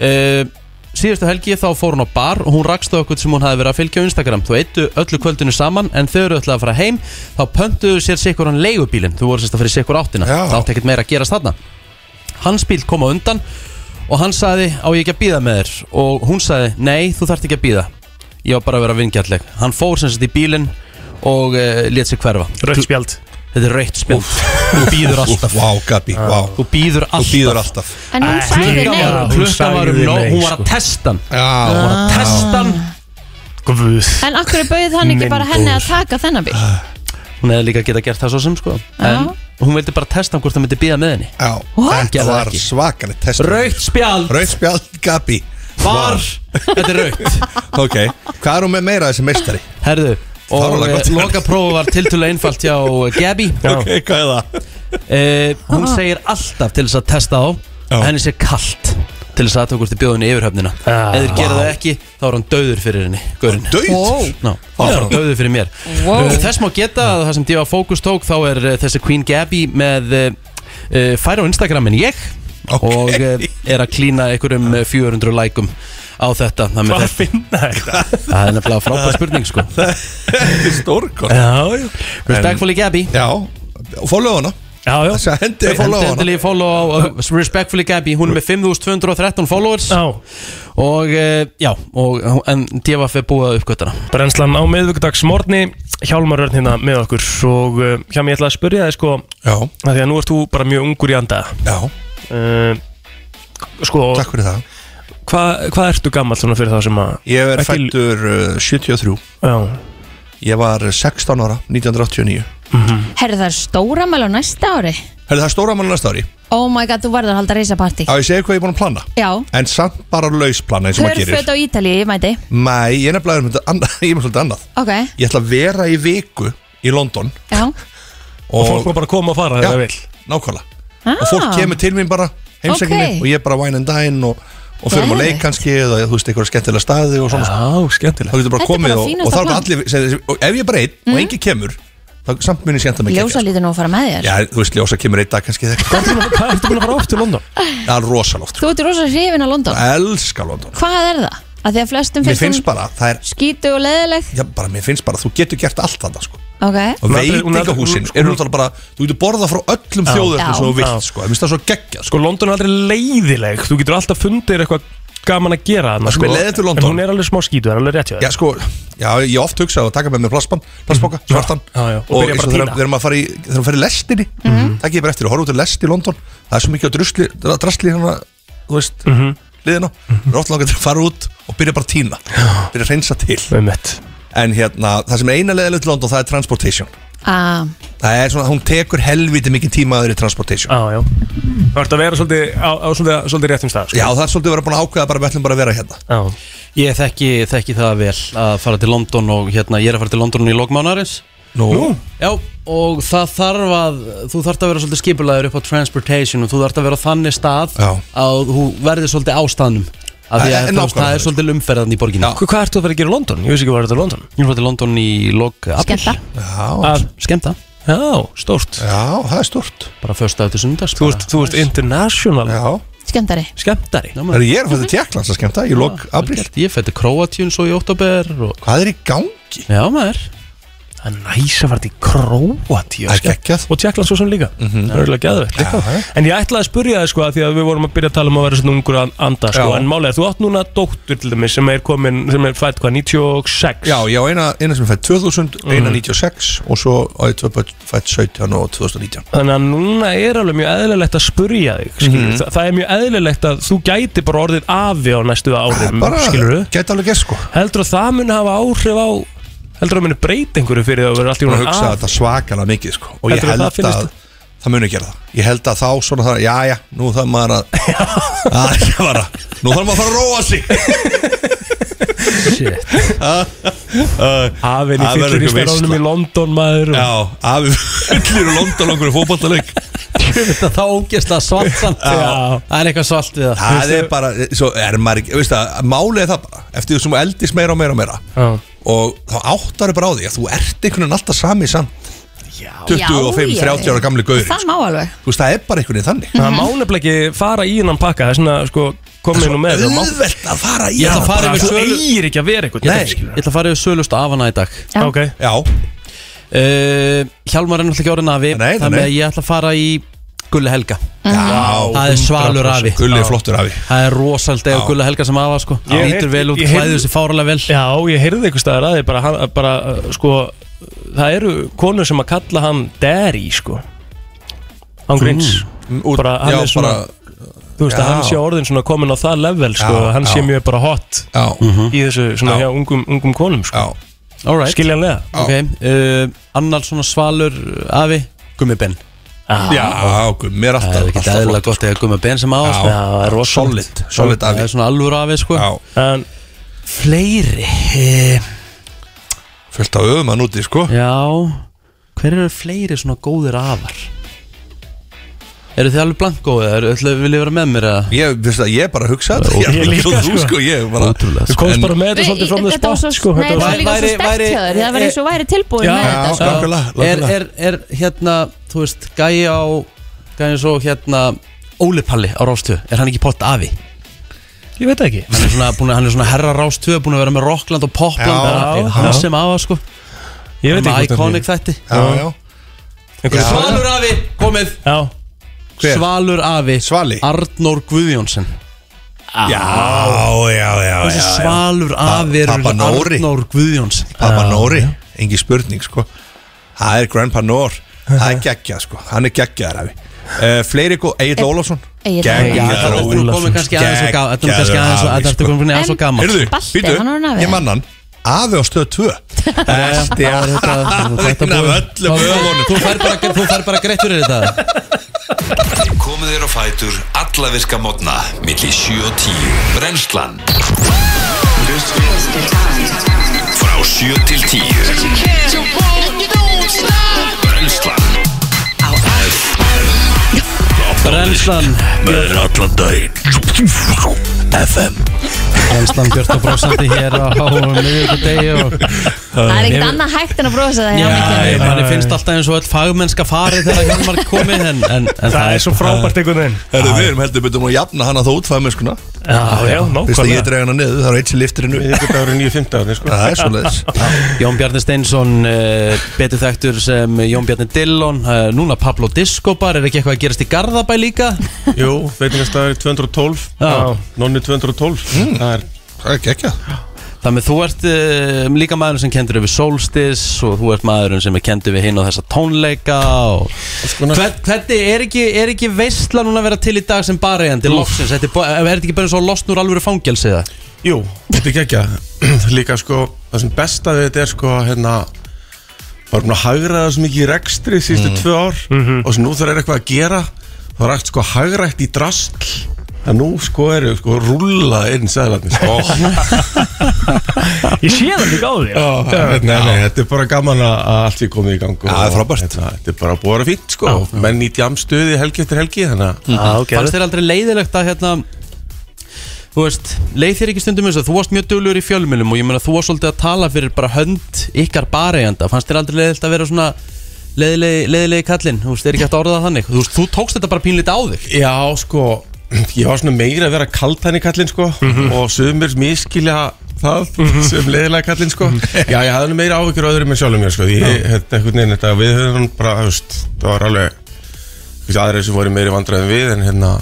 uh, Síðustu helgi þá fór hún á bar og hún rakst á okkur sem hún hafi verið að fylgja á Instagram Þú eittu öllu kvöldinu saman en þau eru öll að fara heim þá pöntuðu sér sikkur hann leigubílinn Þú voru sérst að fyrir sikkur áttina Já. Það átti ekkert meira að gerast þarna Hans bíl kom á undan og hann sagði á ég ekki að býða með þér og hún sagði nei þú þarft ekki að býða ég var bara að vera vingjalleg hann fór sem sagt í bílinn og uh, let sig hverfa Rautt spjald þetta er rautt spjald þú býður alltaf Vá, Gabi, vá þú býður alltaf þú býður alltaf En hún sagði nei klukkan var um nóg hún var að testa hann já hún var að testa hann Guð En akkur bauð hann ekki bara Minn henni að góður. taka þennan bíl hún hefði líka geta gert það svo sem sko en hún vildi bara testa hann hvort það myndi býða með henni já þetta var svakalegt test rautt spjald rautt spjald, Gabi Var. þetta er rautt ok, hvað er hún með meira þessi meistari? herðu og Fáránlega gott. loka prófi var tiltölu einfalt hjá Gabi ok, hvað er það? Eh, hún segir alltaf til þess að testa á henni sé kallt til þess að það hvort þið bjóðinni yfir höfnina ah, eða gera það ekki þá er hann döður fyrir henni gaurin. Dauður? Wow. Ná, þá er hann döður fyrir mér Wow. Eh, þess má geta að það sem Diva Focus tók þá er eh, þessi Queen Gabby með uh, færa á Instagram en ég og uh, er að klína einhverjum eh, 400 lækum á þetta Hvað Hvað finna þetta? Það er nefnilega frábæð spurning sko <laughs> Þetta er stórkort <laughs> Já, já Respectfully Gabby Já, og follow hana Já, já Þess að hendi follow hana Endilegi follow á uh, Respectfully Gabby Hún er með 5213 followers Já Og uh, já og, En Devaf er búið að uppgötana Brennslan á miðvíkudagsmorni Hjálmar Örn hérna með okkur og uh, hjá mér ætla að spyrja þig sko Já að Því að nú ert þú bara mjög ungur í anda Já uh, Sko Takk fyrir það Hvað hva ertu gammal svona fyrir þá sem að Ég er Ekki- fættur uh, 73 Já Ég var 16 ára, 1989 Herri það er stóra mæl á næsta ári Herðu það er stóra mann næsta ári Oh my god, þú verður að halda reysapartí Á ég segi hvað ég er búin að plana Já, En samt bara lausplana eins og maður hörföt gerir á Ítalíu, ég mæti Mæ, ég er nefnilega um þetta annað- <laughs> ég er með svolítið annað Ok, Ég ætla að vera í viku í London já Og, fólk má bara koma og fara ef Já, það vill. Nákvæmlega Og fólk kemur til mín bara heimsækjum Ah. mig Ok. Og ég er bara wine and dine og, og förum á Geðveikt. leik kannski Eða þú veist, einhverja skemmtilega staði og svona Já, skemmtilega Þá getur bara Þetta er komið bara og, fínasta og þá er bara plan. Mm. allir sem- Og ef ég er breytt og engi kemur Þá samt muni skemmta mig ljósa lítið nú að fara með þér Já, þú veist, ljósa kemur einn dag kannski þegar <laughs> Hvað ertu búin að fara oft til London? Já, rosalóft Þú ert rosa hrifin á London Elskar sko. London Hvað er það? Að því að flestum Mér finnst, finnst hún bara, það er skítu og leðileg Já, bara, mér finnst bara, þú getur gert allt þarna, sko Og Ok, Hún er aldrei- hún er aldrei- veitingahúsin hún- eru sko. náttúrulega bara Þú getur borðað frá öllum Já. þjóðurnum sem þú vilt, Já. sko Mér finnst það svo geggjað, sko Sko London er aldrei leiðileg Þú getur alltaf fundir eitthvað gaman að gera þarna, Það sko, leiðið til London. En hún er alveg smá skítu, það er alveg rétt hjá Já, þér sko, já, ég oft hugsa að taka með mér plastbann, plastboka, svartan Mhm. Já, já, og Og byrja eins og bara að þegar týna. þegar maður fari, í- þegar maður fari í lestinni Mhm. mm -hmm. Takk ég bara eftir að horfa út í lest í London Það er svo mikið á drusli, drastli hérna, þú veist liðina Mér er oft langar til að fara út og byrja bara að tína Byrja að reynsa til Einmitt. En hérna, það sem er eina leiðilegt til London það er transportation Ah, Það er svona, hún tekur helviti mikið tíma að þeirri transportation Já, já Það ert að vera svolítið á, á svolítið, svolítið réttum stað sko. Já, það er svolítið að vera búin að ákveða bara við ætlum bara að vera hérna Já. Ég þekki, þekki það vel að fara til London og hérna, ég er að fara til London í lokmánarins Nú? Nú? Já, og það þarf að þú þarf að vera svolítið skipulaður upp á transportation og þú þarf að vera á þannig stað Já. að þú verður svolítið á staðnum af því En- að en þú veist, það nákvæmlega. er svolítið umferðan í borginni Hvað hvað ertu að fara að gera í London? Ég veist ekki hvað er þetta í London Ég var til London í lok Skemmta. Að skemmta Já, stórt Já, það er stórt Bara första eftir sundas Þú ert, þú ert Já international skemmtari Skemmtari Herru, ég er að fæta til Tjekklands að skemmta í lok Ah, apríl Ég fætti Kroatjun svo í óttabér og... Hvað er í gangi? Já maður Það er næs að fara til Króatíu sko. Það er geggjað Mhm. Og Tjekkland svo sem líka Það er örugglega geðveikt líka. En ég ætlaði að spyrja þig sko að Því að við vorum að byrja að tala um að vera svona ungur að anda sko, Já. En málega þú átt núna dóttur til dæmis Sem er komin, sem er fætt hvað, 96 Já, já, eina, eina sem er fætt 2000, eina Mhm. 96 og svo á ég tvö börn fætt 17 og 2019 Þannig að núna er alveg mjög eðlilegt að spurja þig skilur, Mhm. Þa, Það er mjög eðlilegt að þú gæti bara orðið afi á næstu árum bara- skilur við Gæti alveg gerð sko Heldur að það muni hafa áhrif á Heldur að það muni breyta einhverju fyrir það að vera allt í Ég var að hún hugsa þetta svakalega mikið sko og ég Heldurðu að held það að, finnist það, muni gera það Ég held að þá svona það, já, já, nú þarf maður að <laughs> Það er ekki bara Nú þarf maður að fara að róa sig Shit Afinn í fyllir í stærðunum í London maður Já, afi fyllir í London okkur fótballaleik Það ógist að svart samt Já. Það er eitthvað svalt við það Það er bara, svo er maður ekki Veist það, málið er það bara Eftir því sem þú eldist meira og meira og meira Já. Og þá áttar er bara á því að þú ert einhvern veginn alltaf sami samt Já 25, Já, 30 ára gamli gaur það má alveg Þú veist, það er bara einhvern veginn þannig Mhm. Það má nefnilega ekki fara í hennan pakka Það er svona, sko, komið nú með það má- auðvelt að fara í Ég ætla hana, að fara bara yfir þú sölu eigir- Þú eigir ekki að vera einhvern Nei, ég ætla að fara yfir sölust af hana í dag Já. Ok. Já uh, Hjálmar er náttúrulega ekki orðin afi nei, Þannig nei. að ég ætla að fara í Gulli Helga Já Það er svalur afi Gulli er flottur afi Það er rosald eða Gulli Helga sem afa sko Ég Lítur heyrði- vel út, ég heyrði- klæður sér fáralega vel Já, ég heyrði einhvers staðar að því bara, hann, bara, uh, sko, það eru konur sem að kalla hann Derry, sko Án gríns Mm, út- Bara, hann já, er svona bara- Þú veist að Já. hann sé orðin svona komin á það level, sko Já, Hann sé já. mjög bara hot Já Mhm. í þessu, svona, hjá ungum, ungum konum, sko Já Alright. Skiljanlega okay. uh, Annar svona svalur uh, afi Gummi Ben Já. Já, gummi er alltaf Það er ekki alltaf eðla flott. gott eða Gummi Ben sem afa Já. sko. Já, það er rosalegt. Solid, solid Það afi er svona alvöru afi sko Já En Fleiri eh, Fullt á öfum hann úti, sko Já Hver eru fleiri svona góðir afar? Eru þið alveg blankó eða eru- ætlu- viljið vera með mér eða? Ég, veist það, ég er bara að hugsa þetta Ég líka, ekki að þú, sko. sko Ég er bara Ótrúlega, Þú komst En- bara með þetta Nei, svolítið frá Þetta með var svo spott, sko Nei, þetta það var var- líka svo væri- stert væri- hjá þér Það var eins og væri tilbúin Já, með já, þetta Já, sko. skakkulega, er, skakkulega er, er hérna, þú veist, gæi á gæi svo hérna Óli Palli á Rástöð, er hann ekki pott afi? Ég veit það ekki Hann er svona, búin, hann er svona herra Rástöð, búin að vera með Rockland og Popland Já, hann, já. hann sem afa sko Ég Hann veit ekki með hvort Iconic þætti Já, já Einhverju Já. svona- Svalur afi, komið Já, Hver? Svalur afi, Svali Arnór Guðjónsson Já, já, já, já Svalur afi er Pa- Papa Nóri. Arnór Guðjónsson Pappa Nóri, engi spurning, sko Það er Grandpa Nór Það er geggjað, sko Hann er geggjaðar afi Uh, fleiri góð, Egil Ólafsson Egill Já, þetta Geggjaður er nú komið Ólafsson. kannski aðeins og gá- þetta er nú kannski Geggjaður aðeins og afi, þetta er sko. komið aðeins og gaman Heyrðu, Balti, býtu, hann er orðinn afi. ég mann hann Afi á stöð 2 Besti Já, <laughs> afi þetta- þetta Þetta búið. af öllum öfunum Þú fær bara, þú fær bara greitt fyrir þetta Komið þér á fætur alla virka mótna milli 7 og 10 Brennslan Frá 7 til 10 Brennslan Brennslan Með allan daginn FM Brennslan Björn og Brósandi hér á miðvíkudegi og Það er ekkert Ég- annað hægt en að brosa það hjá mér. Já, manni finnst alltaf eins og öll fagmennska farið þegar Hjálmar komi en, en, en það er svo frábært einhvern veginn Herðu, við erum heldur betur nú að jafna hana þá útfæða með skuna Já, Fyrst að já, ég nákvæmlega dreg hana niður, það er eitt sem liftir hennu Við ykkur dagur í 9.15 sko. Það er svoleiðis Jón Bjarni Steinsson uh, betur þekktur sem Jón Bjarni Dillon uh, núna Pablo Discobar er ekki eitthvað að gerast í Garðabæ líka Jú, veitingastæður 212 Já. Nonni 212 Það er Það er geggjað Þannig þú ert um, líka maðurinn sem kendur yfir solstis og þú ert maðurinn sem er kendur við hinn og þessa tónleika og Hvern, hvernig er ekki, er ekki veistla núna að vera til í dag sem barægandi loksins? Þetta Er bo- er þetta ekki bara svo losn úr alvöru fangelsi það? Jú, þetta er geggja <clears throat> Líka sko, það sem besta við þetta er sko hérna var búin að hagra það svo mikið í rekstri síðustu Mm. tvö ár og svo nú þarf er eitthvað að gera þá er allt sko hagrætt í drastl en nú sko eru sko rúlla inn sæðlarnir sko. Ég sé það líka á því <laughs> Já, nei, nei, nei, þetta er bara gaman að að allt sé komið í gang og, Já, það er frábært Þetta, þetta er bara búið að vera fínt sko menn í djamstuði helgi eftir helgi þannig að Fannst þér aldrei leiðilegt að hérna Þú veist, leið þér ekki stundum þess að þú varst mjög duglur í fjölmjölum og ég meina þú varst svolítið að tala fyrir bara hönd ykkar baræganda Fannst þér aldrei leiðilegt að vera svona leiðilegi, leiðilegi kallinn, þú veist, er ekki hægt að orða það þannig Þú veist, þú tókst þetta bara pínlítið á þig Já, sko, ég var svona meira að vera kaltæni kallinn, sko og sumir miskilja það sem leiðilega kallinn, <laughs> sko Já, ég hafði nú meira áhyggjur af öðrum en sjálfum mér, sko Ég, þetta, einhvern veginn, þetta, við höfum bara, þú veist, það var alveg þú veist, aðrir sem voru meiri vandræðum við en hérna,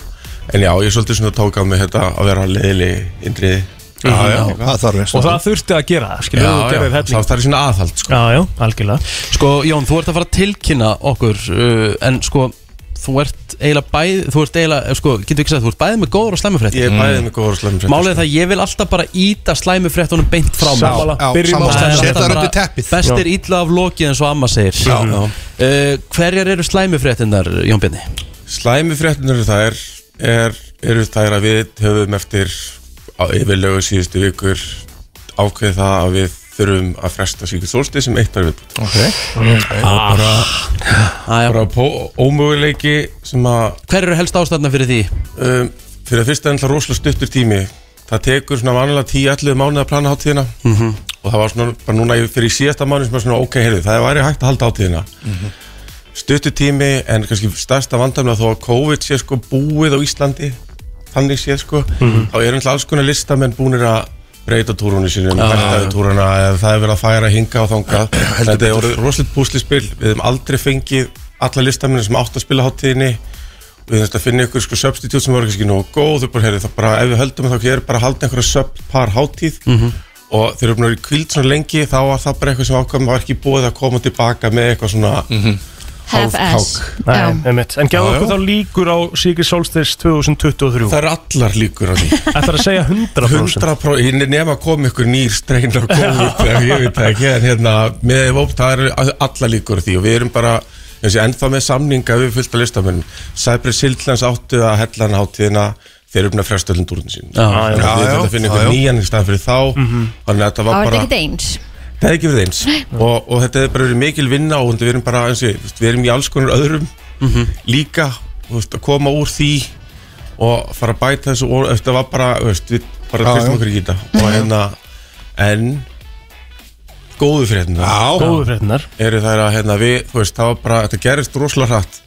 en já, ég svolítið svona tók á mig þetta að vera leiðileg indriði Já, já, það þarf við. Og það þurfti að gera það, skilur, Já, þú gerðir já, helling. það er svona aðhald, sko Já, já, algjörlega Sko, Jón, þú ert að fara að tilkynna okkur uh, En sko, þú ert eiginlega bæð Þú ert eiginlega, eh, sko, getur ekki sagt Þú ert bæðið með góður og slæmufrétt Ég Mm. er bæði með góður og slæmum fréttir, sko. Málið er það að ég vil alltaf bara íta slæmufréttunum beint frá mér Sammála. Já, Byrjum sammála. á slæmu. Setja þær undir teppið. Best er Já. illa af lokið eins og amma segir Já. Já. Uh, Hverjar eru slæmufréttinnar, Jón Bjarni? Slæmi fréttinur þær er, eru þær að við höfum eftir á yfirlegu síðustu vikur ákveðið það að við þurfum að fresta Secret Solstice sem eitt ár við okay. Ok. og bara, bara pó, ómöguleiki sem að Hver eru helst ástæðna fyrir því? Um, fyrir að fyrst er ennlega rosalega stuttur tími það tekur svona vanlega 10-11 mánuð að plana hátíðina Mhm. og það var svona bara núna í- fyrir í síðasta mánuð sem var svona ok, heyrðu, það væri hægt að halda hátíðina Mhm. stuttur tími en kannski stærsta vandamlega þó að COVID sé sko búið á Íslandi þannig sé sko Mhm. þá er alltaf alls konar listamenn búinir að breyta túrunni sínum, Já, hættaði já. túruna eða það er verið að færa hinga og þangað <clears throat> Heldur þetta er betur. orðið rosalit púslispil við hefum aldrei fengið alla listamennin sem átt að spila hátíðinni við höfum þetta að finna ykkur sko substitute sem var kannski nógu góð þau bara heyrðu það bara ef við höldum þá er bara að halda einhverja subpar hátíð Mhm. og þeir eru búin að vera í kvild svona lengi þá var það bara eitthvað sem ákvæm var ekki búið að koma tilbaka með eitthvað svona mm -hmm. Nei, einmitt. En gefðu okkur þá líkur á Sigrid Solstice 2023 Það eru allar líkur á því Ætlar að segja 100% 100% ég nefn að koma ykkur nýr strein á COVID, eða ég veit það ekki en hérna, með vóp, það eru alla líkur á því og við erum bara, eins og ennþá með samninga við fullt að listamenn Cypress Hildlands áttu að hellan hátíðina þeir eru búin að fresta öllum dúrunum sínum Já, já. Þannig að Já, við þurfum já, að finna já, já. ykkur Mhm. nýjan í staðan fyrir þá þannig að þetta Það var var bara þetta ekkert eins Það hefði ekki verið eins Nei. og, og þetta hefði bara verið mikil vinna og við erum bara, eins og ég, veist, við erum í alls konar öðrum Mhm. líka þú veist, að koma úr því og fara að bæta þessu og þetta var bara, þú veist, við bara Já, tvistum já. okkur í þetta og hérna, en góðu fréttinar Já. Góðu fréttinar eru þær að, hérna, við, þú veist, það var bara þetta gerist rosalega hratt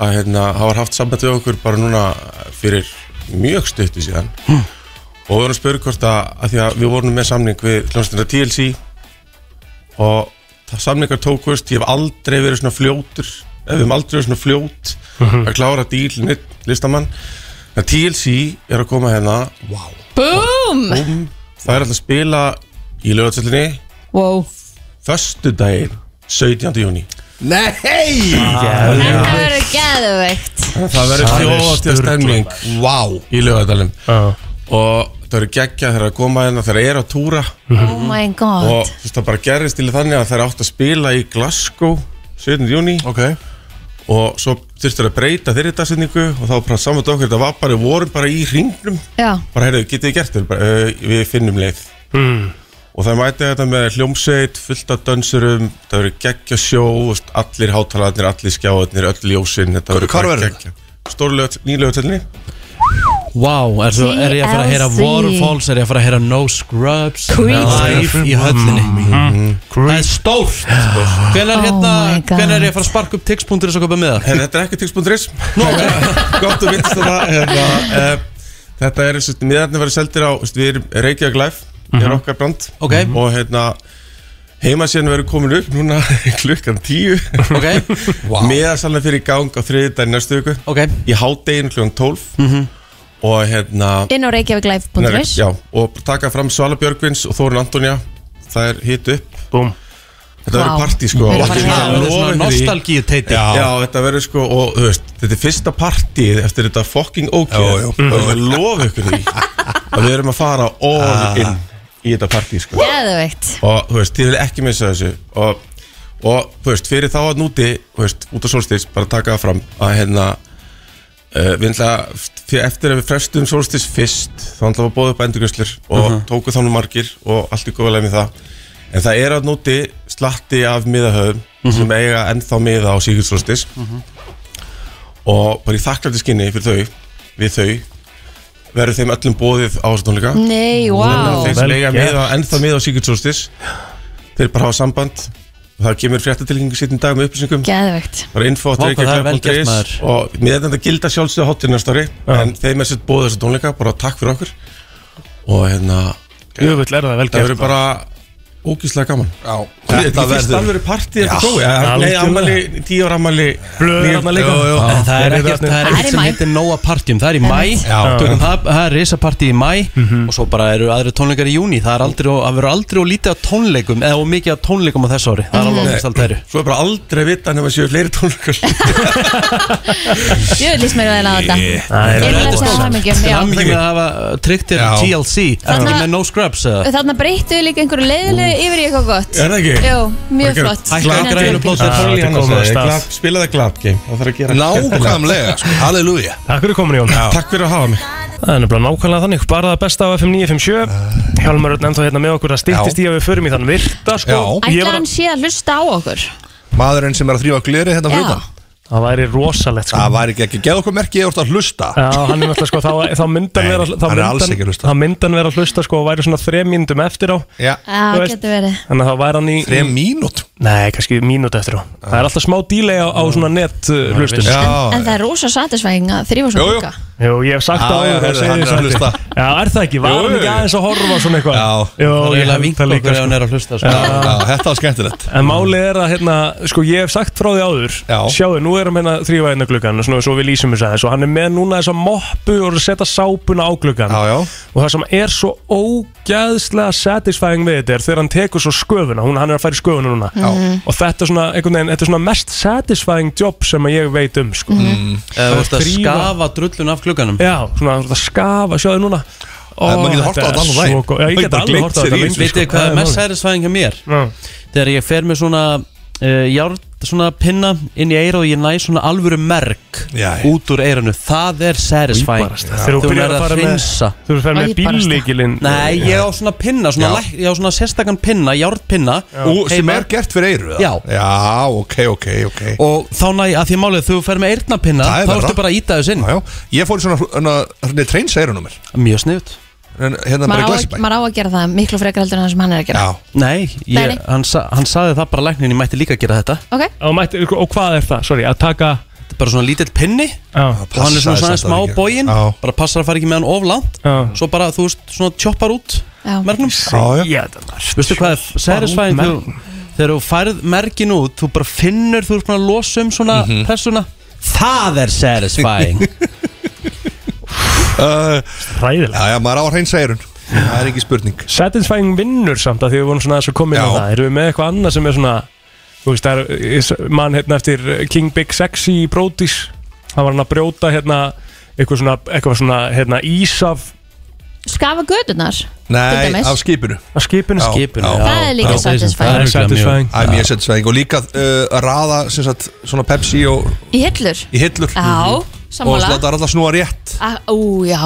að, hérna, það var haft samband við okkur bara núna fyrir mjög stuttu síðan og við vorum að spyrja hvort að, að því að við vorum með samning við hljómsnýra TLC og það samningar tókust ég hef aldrei verið svona fljótur ef við hefum aldrei verið svona fljót Mhm. að klára díl neitt listamann en TLC er að koma hérna wow. Búm það er alltaf að spila í lögatsöllinni wow. föstudaginn 17. júni Nei Þetta yeah. verður geðveikt það verður þjóðatíða stemning wow. í lögadalum og það verður geggja þegar að koma hérna þegar er að túra Oh my god og þú veist, það bara gerðist til þannig að þær átt að spila í Glasgow 17. júni okay. og svo þurftur að breyta þeirri dagsetningu og þá bara samvætt okkur þetta var bara, við vorum bara í hringnum Já bara heyrðu, getið þið gert þetta bara, uh, við finnum leið Hmm. Mm. og það mæti þetta með hljómsveit fullt af dönsurum, það verður geggja sjó þú veist, allir hátalarnir, allir skjáðarnir öll ljósin, þetta verður hvar bara verður geggja stórlega, <laughs> nýlega Vá, er, svo, er ég að fara að heyra TLC. Waterfalls, er ég að fara að heyra No Scrubs Creed. Live í höllinni Mm-hmm. Það er stórt Hvenær Oh hérna, my God. hvenær er ég að fara að sparka upp tix.is og köpa með það? En þetta er ekki tix.is <laughs> Gott og vittst þetta hérna, uh, Þetta er sérst, miðarnir verið seldir á sérst, Við erum Reykjavík Live Það er Mhm. okkar brand okay. Og hérna Heimasíðan verður komin upp núna <laughs> klukkan tíu <laughs> okay. wow. Meðasalna fyrir í gang á þriðið dæn næstu viku okay. Mhm. Í hádeginu klukkan tólf og hérna Inn á reykjavíklife.is Já, og taka fram Svala Björgvins og Þórun Antonja Það er hit upp Búm Vá. Þetta verður partí sko Þetta verður bara- Ég þetta er svona lofa því. nostalgíuteiti. Já. Já, þetta verður sko og þú veist, þetta er fyrsta partí eftir þetta fucking Já, já. ókjöð og ég lofa ykkur því <laughs> að við erum að fara Ah. all in í þetta partí sko Geðveikt og þú veist, ég vil ekki missa þessu og, og þú veist, fyrir þá að núti þú veist, út af solstis, bara taka það fram að hérna uh, við ætla, f- eftir að við frestum solstis fyrst, þá ætla að bóða upp endurgjöslur og Mhm. tóku þannig margir og allt í góðlega með það en það er að núti slatti af miðahöfum sem eiga ennþá miða á síkjur solstis Mhm. og bara í þakklæti skinni fyrir þau, við þau verður þeim öllum bóðið á þessu tónleika Nei, vá. Þannig að þeir sem Vel eiga gert. miða, ennþá miða á Secret Solstice þeir bara hafa samband og það kemur fréttatilgjengu sýttin dag með upplýsingum Geðveikt. bara info Vá, hvað það er vel gert, reykjavík.is maður. og miðan þetta gilda sjálfsögðu hátir næsta ári en þeim er sett bóðið þessu tónleika bara takk fyrir okkur og hérna Jöfull er það vel það gert, verður bara ógíslega gaman Já, þetta er ekki fyrst alveg partí þetta prófi nei, ammali, tíu ára ammali En það er ekkert það er ekkert sem heitir Nóa Partjum Það er í mæ Já. Mm-hmm. Tökum það það er risapartí í mæ Og svo bara eru aðri tónleikar í júni Það er aldrei og- það verður aldrei og lítið á tónleikum Eða og mikið á tónleikum á þessu ári Það er alveg Mhm. áfæst allt þeirri Svo er bara aldrei vita nema séu fleiri tónleikar <laughs> Ég vil líst mér vel á þetta Það er Ég vil að rosa. segja hamingjum Til hamingju með að hafa uh, tryggt þér Já. TLC Ekki Þarna- með No Scrubs eða Þannig að breyttu líka einhverju leiðilegu yfir í eitthvað gott Er það ekki? Jú, mjög flott Þannig að- Spilaði glab game Það þarf að gera Nákvæmlega, sko. halleluja Takk fyrir komin Jón Takk fyrir að hafa mig Það er nefnilega nákvæmlega þannig, bara það besta á FM 957 Hjálmar Örn ennþá hérna með okkur að stýttist í að við förum í þann virta sko Ég Ætla var- hann sé að hlusta á okkur Maðurinn sem er að þrýfa gleri hérna Já. fyrir utan Það væri rosalegt sko Það væri ekki ekki, geð okkur merki ég úr að hlusta Já, hann er náttúrulega sko, þá, þá myndan Nei, vera hann þá er myndi alls ekki að hlusta. Þá myndan vera að hlusta sko og væri svona þrem mínútum eftir á Já, Já, getur verið Þannig að þá væri hann í Þrem mínút? Nei, kannski mínút eftir á Það er alltaf smá delay á, á svona net uh, hlustun En það er rosa satisfæðing að þrýfa svona líka Jú, ég hef sagt Já, það já, áður heyrðu, og segi hann er þessu að hlusta. aldrei. Já, er það ekki? Var Jú, hann jú. ekki aðeins að horfa á svona eitthvað? Já, Það er ég eiginlega held vinkt það okkur líka, ef hann sko. er að hlusta, sko. Já. Já, þetta var skemmtilegt. En málið er að, hérna, sko, ég hef sagt frá því áður Já. Sjáðu, nú erum hérna þrýfa hérna gluggan Svona, svo við lýsum þess aðeins Og hann er með núna þessa moppu og er að setja sápuna á gluggan Já, já Og það sem er svo ógæðslega satisfying við þetta er Þegar hann tekur svo sköfuna, hún, hann er að fara í sköfuna núna Já. Mhm. Og þetta er svona, einhvern veginn, þetta er svona mest satisfying job sem að ég veit um, sko Eða þú veist að Þrífa- skafa drullun af klukkanum Já, svona þú ert að skafa, sjáðu núna Ó, maður getur horft á þetta þetta er allan svo daginn. gott. Já, ég Maður get bara alveg gleymt horft á sér þetta í þessu, lengi, Vitið sko. hvað Það er mest málið. særisvæðing hjá mér Já. Þegar ég fer með svona uh, járn, svona pinna inn í eira og ég næ svona alvöru merk út úr eiranu, það er særisvæðing Íbarast. sko. Þegar þú byrjar að fara með- þegar þú ferð með Íbarast. bíllykilinn. Nei, ég á svona pinna, svona, Já. læk, ég á svona sérstakann pinna, járnpinna Ú, sem heima. er gert fyrir eyru eða? Já. Já, ok, ok, ok Og þá næ, að því málið, þú fer með eirnapinna Það er Þá verra. ertu bara að íta þess inn já, já. Ég fór í svona, svona, svona treynsæðurinn á mér Mjög sniðut Hérna bara Maður í á glæsibæ að- maður á að gera það miklu frekar heldur en það sem hann er að gera Nei, Nei, ég, nei. hann, sa, hann saði það bara læknin, ég mætti líka gera þetta Ok. og, mætti, og hvað er það, sorry, að taka Þetta er bara svona lítill pinni og og hann er svona, svona Passaði samt smá að ekki. bógin Já. bara passar að fara ekki með hann of langt svo bara þú veist svona tjoppar út mergnum Já, já veistu hvað er særisvæðin út þegar, þegar þú færð mergin út þú bara finnur þú ert búin að losa um svona Mhm. pressuna það er særisvæðing <laughs> Ræðilega Eh, Já, já, maður á að hreinsæðurinn Það er ekki spurning Satisfying vinnur samt að því við vorum svona aðeins að koma inn á Já. það Erum við með eitthvað annað sem er svona Þú veist, það er ég s- man hérna eftir King Big Sexy í Brodís Það var hann að brjóta hérna Eitthvað svona, eitthvað svona hérna ís af Skafa gödunar til dæmis. skipinu Af skipinu Já, Skipinu, já. já. Það er líka Já, satisfying. það er satisfying. Það er mjög satisfying Og líka uh, að raða sem sagt, svona Pepsi og, Í hillur í hillur Mhm. Já, Mhm. Og sammála. láta alla snúa rétt Á- Ú, já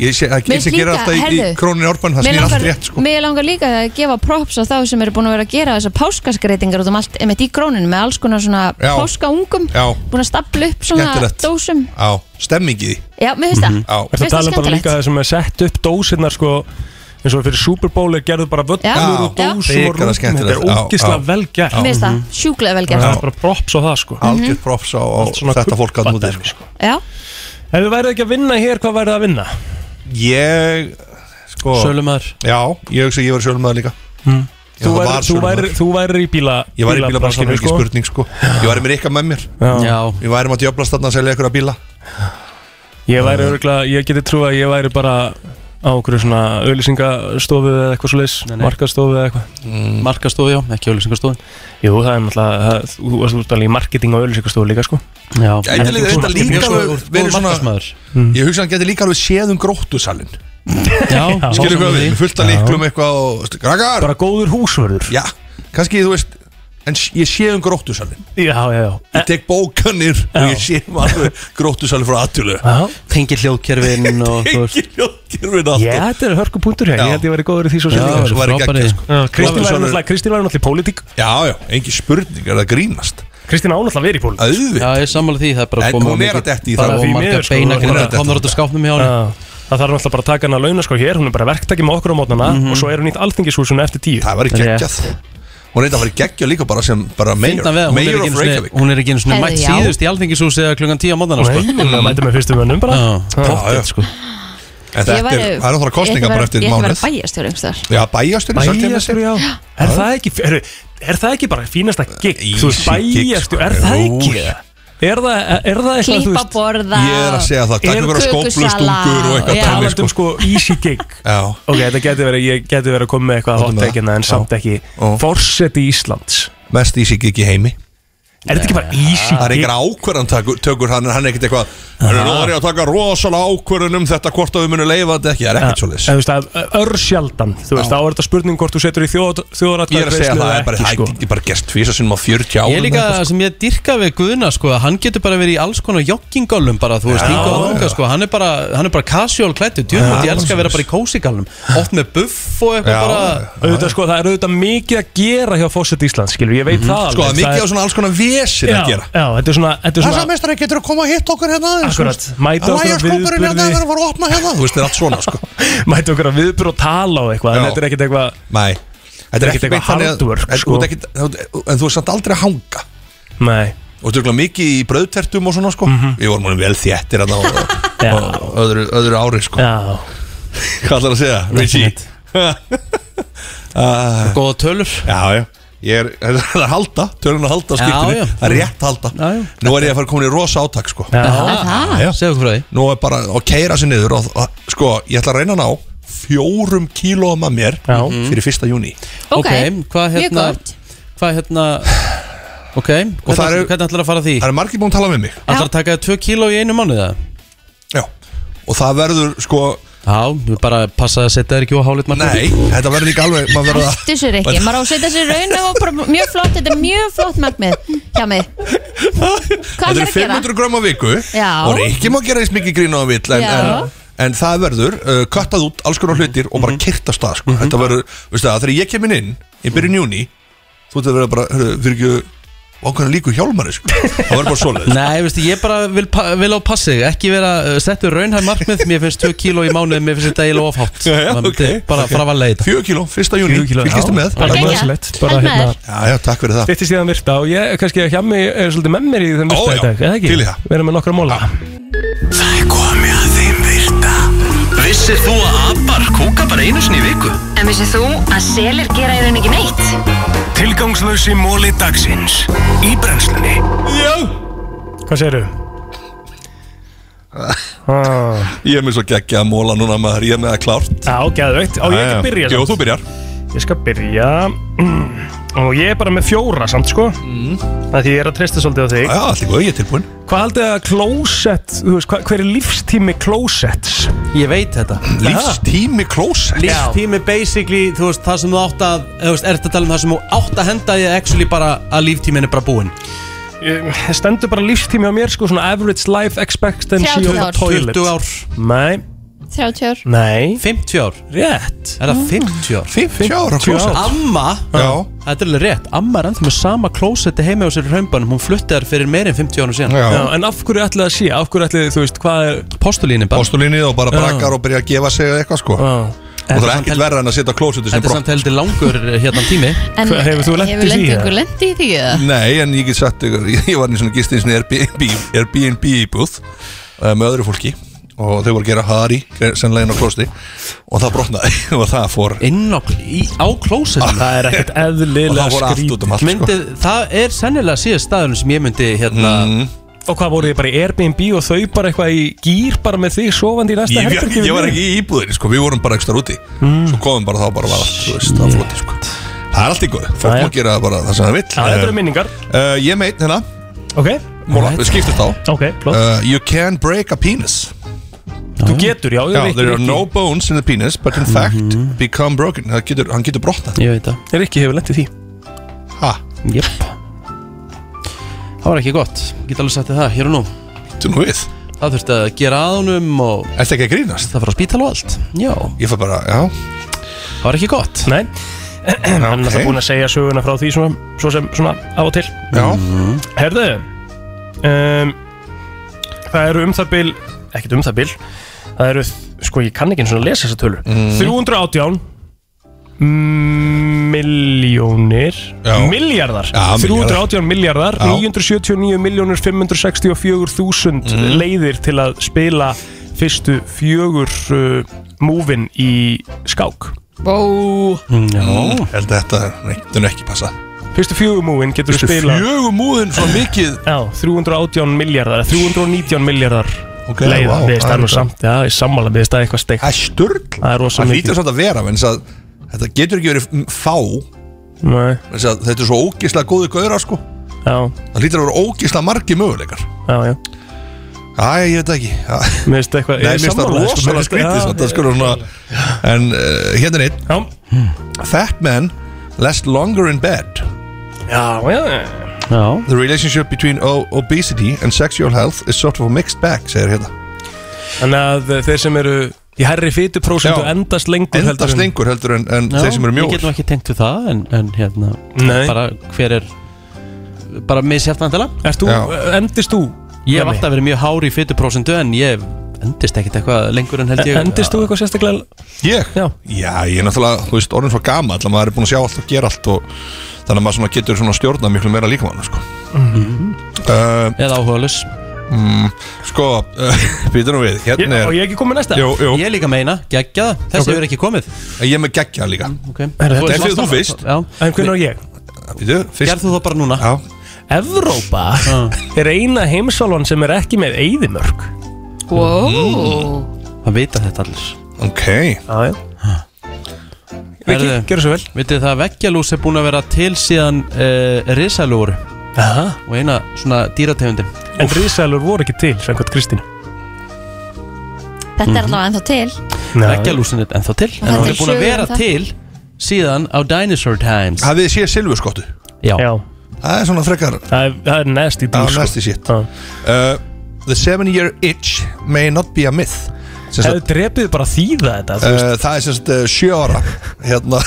Ég sé að Mér sem gerir líka, alltaf í, í heyrðu, króninni árbæn Það Mér snýr allt langar- rétt sko Mér langar líka að gefa props á þá sem eru búin að vera að gera þessar páskaskreitingar út um allt, einmitt í gróninu með alls konar svona Já. páskaungum Já, búin að stapla upp svona Skemmtilegt. dósum já, stemmingi því Já, mér finnst það Já. Er það Finnst það tala um bara skemmtilegt? líka það sem er sett upp dósinnar sko eins og fyrir Super Bowl er gerðu bara Já. völlur og Já. dósum og Hrikalega rúm þetta er skemmtilegt. Já, ógislega já. vel gert Mér finnst það Mhm. sjúklega vel Það gert er bara props á það sko Mhm. Algjör props á, á þetta fólk að núti sko. Já, Ef þið værið ekki að vinna hér, hvað værið að vinna? Ég sko, Sölumæður Já, ég hugsa að ég var sölumæður líka Mm. Já, Þú það værir- var Þú sölumaður. værir- þú værir í bíla Ég var í bílabranskinu, bílabransanum, ekki spurning sko Ég var í mér ykkar með mér Já. Já. Við værum að djöflast þarna að selja ykkur að bíla Ég væri örgulega, ég geti trú að ég væri bara á okkur svona auðlýsingastofu eða eitthvað svo leis, nei. markastofu eða eitthvað Mm. Markastofu, já, ekki auðlýsingastofu Jú, það er náttúrulega, það- þú varst út alveg í marketing og auðlýsingastofu líka sko Já, Gæti líka- þetta líka alveg verið svona Mhm. Ég hugsa að hann gæti líka alveg séð um gróttusalinn Já, Skilur hvað því. við, fullt af Já. líklum eitthvað og stu- Krakkar Bara góður húsvörður Já, kannski þú veist En s- ég sé um gróttusalinn Já, já, já Eh. Ég tek bókanir og ég sé um alveg gróttusalinn frá aðtölu Tengir hljóðkerfin <laughs> og þú veist Gyrfin Já, þetta er hörku punktur hér, ég held ég væri góður í því svo sem Já, líka, þú sko. væri geggjað, sko. Já, Kristín væri Gróttusalur- náttúrulega- Kristín væri náttúrulega í pólitík Já, já, engin spurning, er það grínast Kristín á náttúrulega verið í pólitík Auðvitað Já, ég sammála því, það er bara En komið hún á er mikið- að detta í bara það of margar beina greinar komnar út úr skápnum hjá henni Það þarf náttúrulega bara að taka hana að launa sko hér, hún er bara verktaki með okkur á mótnana Mhm. og svo er hún í alþingishúsuna eftir tíu Það væri geggjað Hún reyndi að fara geggjað líka bara sem bara mayor, Fyndna við að hún er mayor ekki of einu sinni- Reykjavík Hún er ekki einu svona Heyrðu, mætt já. síðust í alþingishús eða klukkan 10 á sko. móðana sko. Nei, hún er að mæta með fyrstu mönnum bara. Já. Pottet, sko En þetta er, það er náttúrulega kostninga bara eftir Ég ætti að vera mánuð bæjastjóri einhvers staðar. Já, bæjastjóri Bæjarstjóri, já Er það ekki, er, er það ekki bara fínasta gig, þú veist, Easy gig, bæjarstjó, sko. er það Jú. ekki Er það, er það eitthvað, þú Klippa veist borða Ég er að segja það, takk Er ykkur að skóflu, kökusala stungur og eitthvað og- dæmi, Talandum sko easy gig Já Ok, þetta geti verið, ég geti verið að koma með eitthvað hot take hérna, en samt ekki Forseti Íslands Mest easy gig í heimi Er þetta ekki bara easy Það er gig? einhver ákvörðan takur, tökur hann Hann er ekkert eitthvað Það er orðið að taka rosalega ákvörðun um þetta Hvort að við munum leifa þetta ekki Það er ekkert Ja, svoleiðis en þú veist, það er örsjaldan Þú veist, þá er þetta spurning hvort þú setur í þjóðrætt Ég er að segja það er bara sko. Það er ekki bara gerst Físa sinnum á 40 árum Ég er líka sko. sem ég dyrka við Guðna sko, að hann getur bara verið í alls konar joggingálum bara, þú veist, hingað og þangað sko, hann er bara hann er bara casual klættu, djúmöld, ég elska að vera bara í kósigálum, oft með buff og eitthvað bara auðvitað sko, það er auðvitað mikið að gera hjá fósett Íslands, skilur, ég veit Mhm. það Sko, það er alveg, mikið er- á svona alls konar vesir Já, að gera Já, þetta er svona, þetta er svona mestari getur að koma að hitta okkur hérna aðeins, Akkurat, þú veist. mæta Að okkur lægja á skópurinn hérna, viðburði. það er að fara að opna hérna, þú veist, það er allt svona, sko. <laughs> mæta okkur að viðbyrja og tala og eitthvað, en þetta er ekkert eitthvað Nei, þetta er ekkert ekki eitthvað hardwork, sko. ekkit, En þú er samt aldrei að hanga Nei Og þú er mikið í brauðtertum og svona sko Við vorum alveg vel þéttir hérna að Já. það öðru, öðru ári sko Já Hvað ætlar að segja, Richie? uh, Góða tölur Já, já Ég er, <laughs> það er halda, tölun að halda á Já, skiptinu já. Það er rétt halda Nú er ég að fara komin í rosa átak sko Já. Já, segðu okkur frá því Nú er bara að keira sér niður og, og, Sko, ég ætla að reyna að ná fjórum kílóum að mér Mhm. Já. fyrir fyrsta júni Ok, mjög hvað hérna gott. hvað hérna ok, hvernig það eru- hvernig ætlar að fara að því? Það er margir búin að tala með mig Ætlar að taka 2 kíló í einu mánuð eða? Já, og það verður sko Já, við bara passa að setja þér ekki á hálit Nei, þetta verður líka alveg maður verður að- Hættu sér ekki, maður á að setja sér raun og bara mjög flott, þetta er mjög flott markmið hjá mig Hvað Þetta ætlar er að gera? 500 grömm á viku Já. Og ekki má gera eins mikið grín á vill en, Já. en, en það verður uh, Kattað út alls konar hlutir og Mhm. bara kyrt af stað sko. Þetta verður, veistu það, þegar ég kemin inn Ég Mhm. byrja í júni Þú ert að vera bara, hörru, fyrir ekki Ákveðan líku hjálmari, sko Það verður bara <laughs> svoleið Nei, veistu, ég bara vil, pa- vil á passi Ekki vera, uh, settu raunhæð markmið Mér finnst 2 kíló í mánuð, mér finnst þetta eiginlega ofhátt Já, já, Þannig ok, að Bara ok. okay. fravalega þetta Fjögur kíló, fyrsta júni, Fjögur kíló, fylgistu já. með Bara Bara geggjað. næsilegt, bara, Vel hérna, maður. Já, já, takk fyrir það Fyrtist ég að virta og ég, kannski að hjá mig er svolítið með mér í þeim Ó, virta í já, dag, eða ekki? til í það. Ah. Við erum með nokkra móla Það er komið að þeim virta Vissir þú að abar kúka bara einu sinni í viku? En vissið þú að selir gera í raun ekki neitt? Tilgangslösi móli dagsins Í brennslunni Já Hvað segirðu? Ah. Ég er með svo geggja að móla núna maður, ég er með það klárt Já, geðveikt, á ég ekki að byrja Jó, samt? þú byrjar Ég skal byrja mm, og ég er bara með fjóra samt sko mm. að því ég er að treysta svolítið á þig Já, allir góð, ég er tilbúin Hvað haldið að klósett, þú veist, hvað, hver er lífstími klósetts? Ég veit þetta Lífstími klósett Lífstími basically, þú veist, það sem þú átt að Þú veist, ert að tala um það sem þú átt að henda Ég actually bara að líftímin er bara búinn Það stendur bara lífstími á mér sko, svona average life expectancy 30 of a ár. toilet 20 ár Nei, 30 ár nei 50 ár Rétt Er það 50 ár? 50 ára klósett. Amma Já. Þetta er alveg rétt Amma er ennþá með sama klósetti heima á sér í raunbanum Hún flutti þar fyrir meir en 50 árum síðan Já, en af hverju ætlið það sé, af hverju ætlið þú veist, hvað er Postulínin bara Postulínið og bara brakkar og byrja að gefa sig eða eitthvað sko Og það er Þetta er ekkert samt- verra en að setja klósetti sem Þetta er samt heldur langur hérna tími En hefur lent ykkur lent í því eða? Nei, en ég get sagt ykkur, <laughs> ég var í svona gistins Airbnb, Airbnb íbúð uh, með öðru fólki og þau voru að gera hari, sennilega inn á klósti og það brotnaði <laughs> og það fór Inn á, í, á klósettinu Það er ekkert eðlilega Og það fór Ah, allt út um allt, sko. Mm. Myndið, það er sennilega síðast staðurinn sem ég myndi hérna Og hvað voru þið bara í Airbnb og þau bara eitthvað í gýr bara með þig sofandi í næsta ég, ég, herbergi við ég var mig? Mm. ekki í íbúðinni sko, við vorum bara ekstra úti Svo komum bara þá bara var allt, þú veist, það var flott sko. Það er allt í góð, fólk má gera bara það sem það vill Já, þetta eru minningar uh, Ég meit hérna Ok Móla, við skiptum þá Ok, flott uh, You can break a penis Þú getur, já, ég Já, veit there are ekki. no bones in the penis But in fact, become broken Það getur, Hann getur brotnað Ég veit það Er ekki hefur lent í því Ha? Jöp Það var ekki gott Ég Get alveg sagt þér það, hér og nú Þú nú við Það þurfti að gera aðunum og Er þetta ekki að grínast? Það fór á spítal og allt Já Ég fór bara, já Það var ekki gott Nei <clears throat> Hann er náttúrulega búin að segja söguna frá því svona, Svo sem svona af og til Já Herðu um, Það eru um það bil Ekkert um það bil Það eru, sko ég kann ekki eins og að lesa þessa tölu Mm. 318 Miljónir Já. Miljardar Já, milljarðar. 318 miljardar Já. 979 miljónir 564 þúsund Mm. leiðir til að spila fyrstu fjögur uh, múvin í skák Bó Já Held að þetta, nei, þetta er ekki passa Fyrstu fjögumúin getur Fyrstu við spila fjögumúin svo mikið Já, 318 miljardar 319 miljardar Ok, leiða, vá, við veist það það er er nú þetta. samt Já, ég sammála, við veist það er eitthvað steikt Það er sturgl Það er rosa Það mikið hlýtur samt að vera vegna þess að Þetta getur ekki verið m- fá Nei. vegna þess að Þetta er svo ógislega góði gauðra sko Já, Það hlýtur að vera ógislega margi möguleikar já, já Æ, ég veit það ekki Já. Mér veist eitthvað Nei, ég er mér finnst það sammála, sko, rosalega mér finnst- skrítið Já, samt, það skulum svona En uh, hérna er einn Já. Fat man lasts longer in bed Já, já Já The relationship between o- obesity and sexual health is sort of a mixed bag, segir hérna Þannig að eh, þeir sem eru í herri fytu prósentu Já. endast lengur Endast lengur heldur en, en þeir sem eru Ég get mjóir nú ekki tengt við það En, en hérna Nei. Bara hver er Bara misjæft andala Erst þú, eh, Já. endist þú? Ég hef Dani? alltaf verið mjög hár í fytuprósentu En ég endist ekkit eitthvað lengur en held E- ég Endist þú eitthvað sérstaklega? Ég? Já. ég er náttúrulega, þú veist, orðin svo gama Þannig að maður er búin að sjá allt og gera allt og Þannig að maður svona getur svona stjórnað miklu meira líkamann sko. uh, Eða áhugalus mm, Sko, uh, <laughs> býtur nú við Ég- hérna er, og ég ekki komið næsta? Jú, jú Ég líka meina, geggja það Þessi Ok. hefur ekki komið Ég er með geggja líka okay. Herra, þetta er þú fyrst. Já En hvernig á ég? Býtu, fyrst Gerð þú það bara núna Já Evrópa er eina heimsálvan sem er ekki með eyðimörk Wow Mm. Það vita þetta allir Ok Já, já Viki, gerðu svo vel Vitið það að veggjalús er búin að vera til síðan uh, risalúru Aha. Og eina svona dýrategundin En risalur voru ekki til, samkvæmt Kristín Þetta er allavega ennþá til Veggjalúsin er ennþá til Og En það hún er er búin að sögur vera um það. til síðan á Dinosaur Times Hafið þið séð silfurskottu? Já. Já Það er svona frekar Það er, það er nasty sko. dýr Það er næsti sitt uh, The seven year itch may not be a myth Sem sagt, Hefðu drepið bara þýða þetta þú veist. uh, Það er sem sagt uh, sjö <laughs> ára Hérna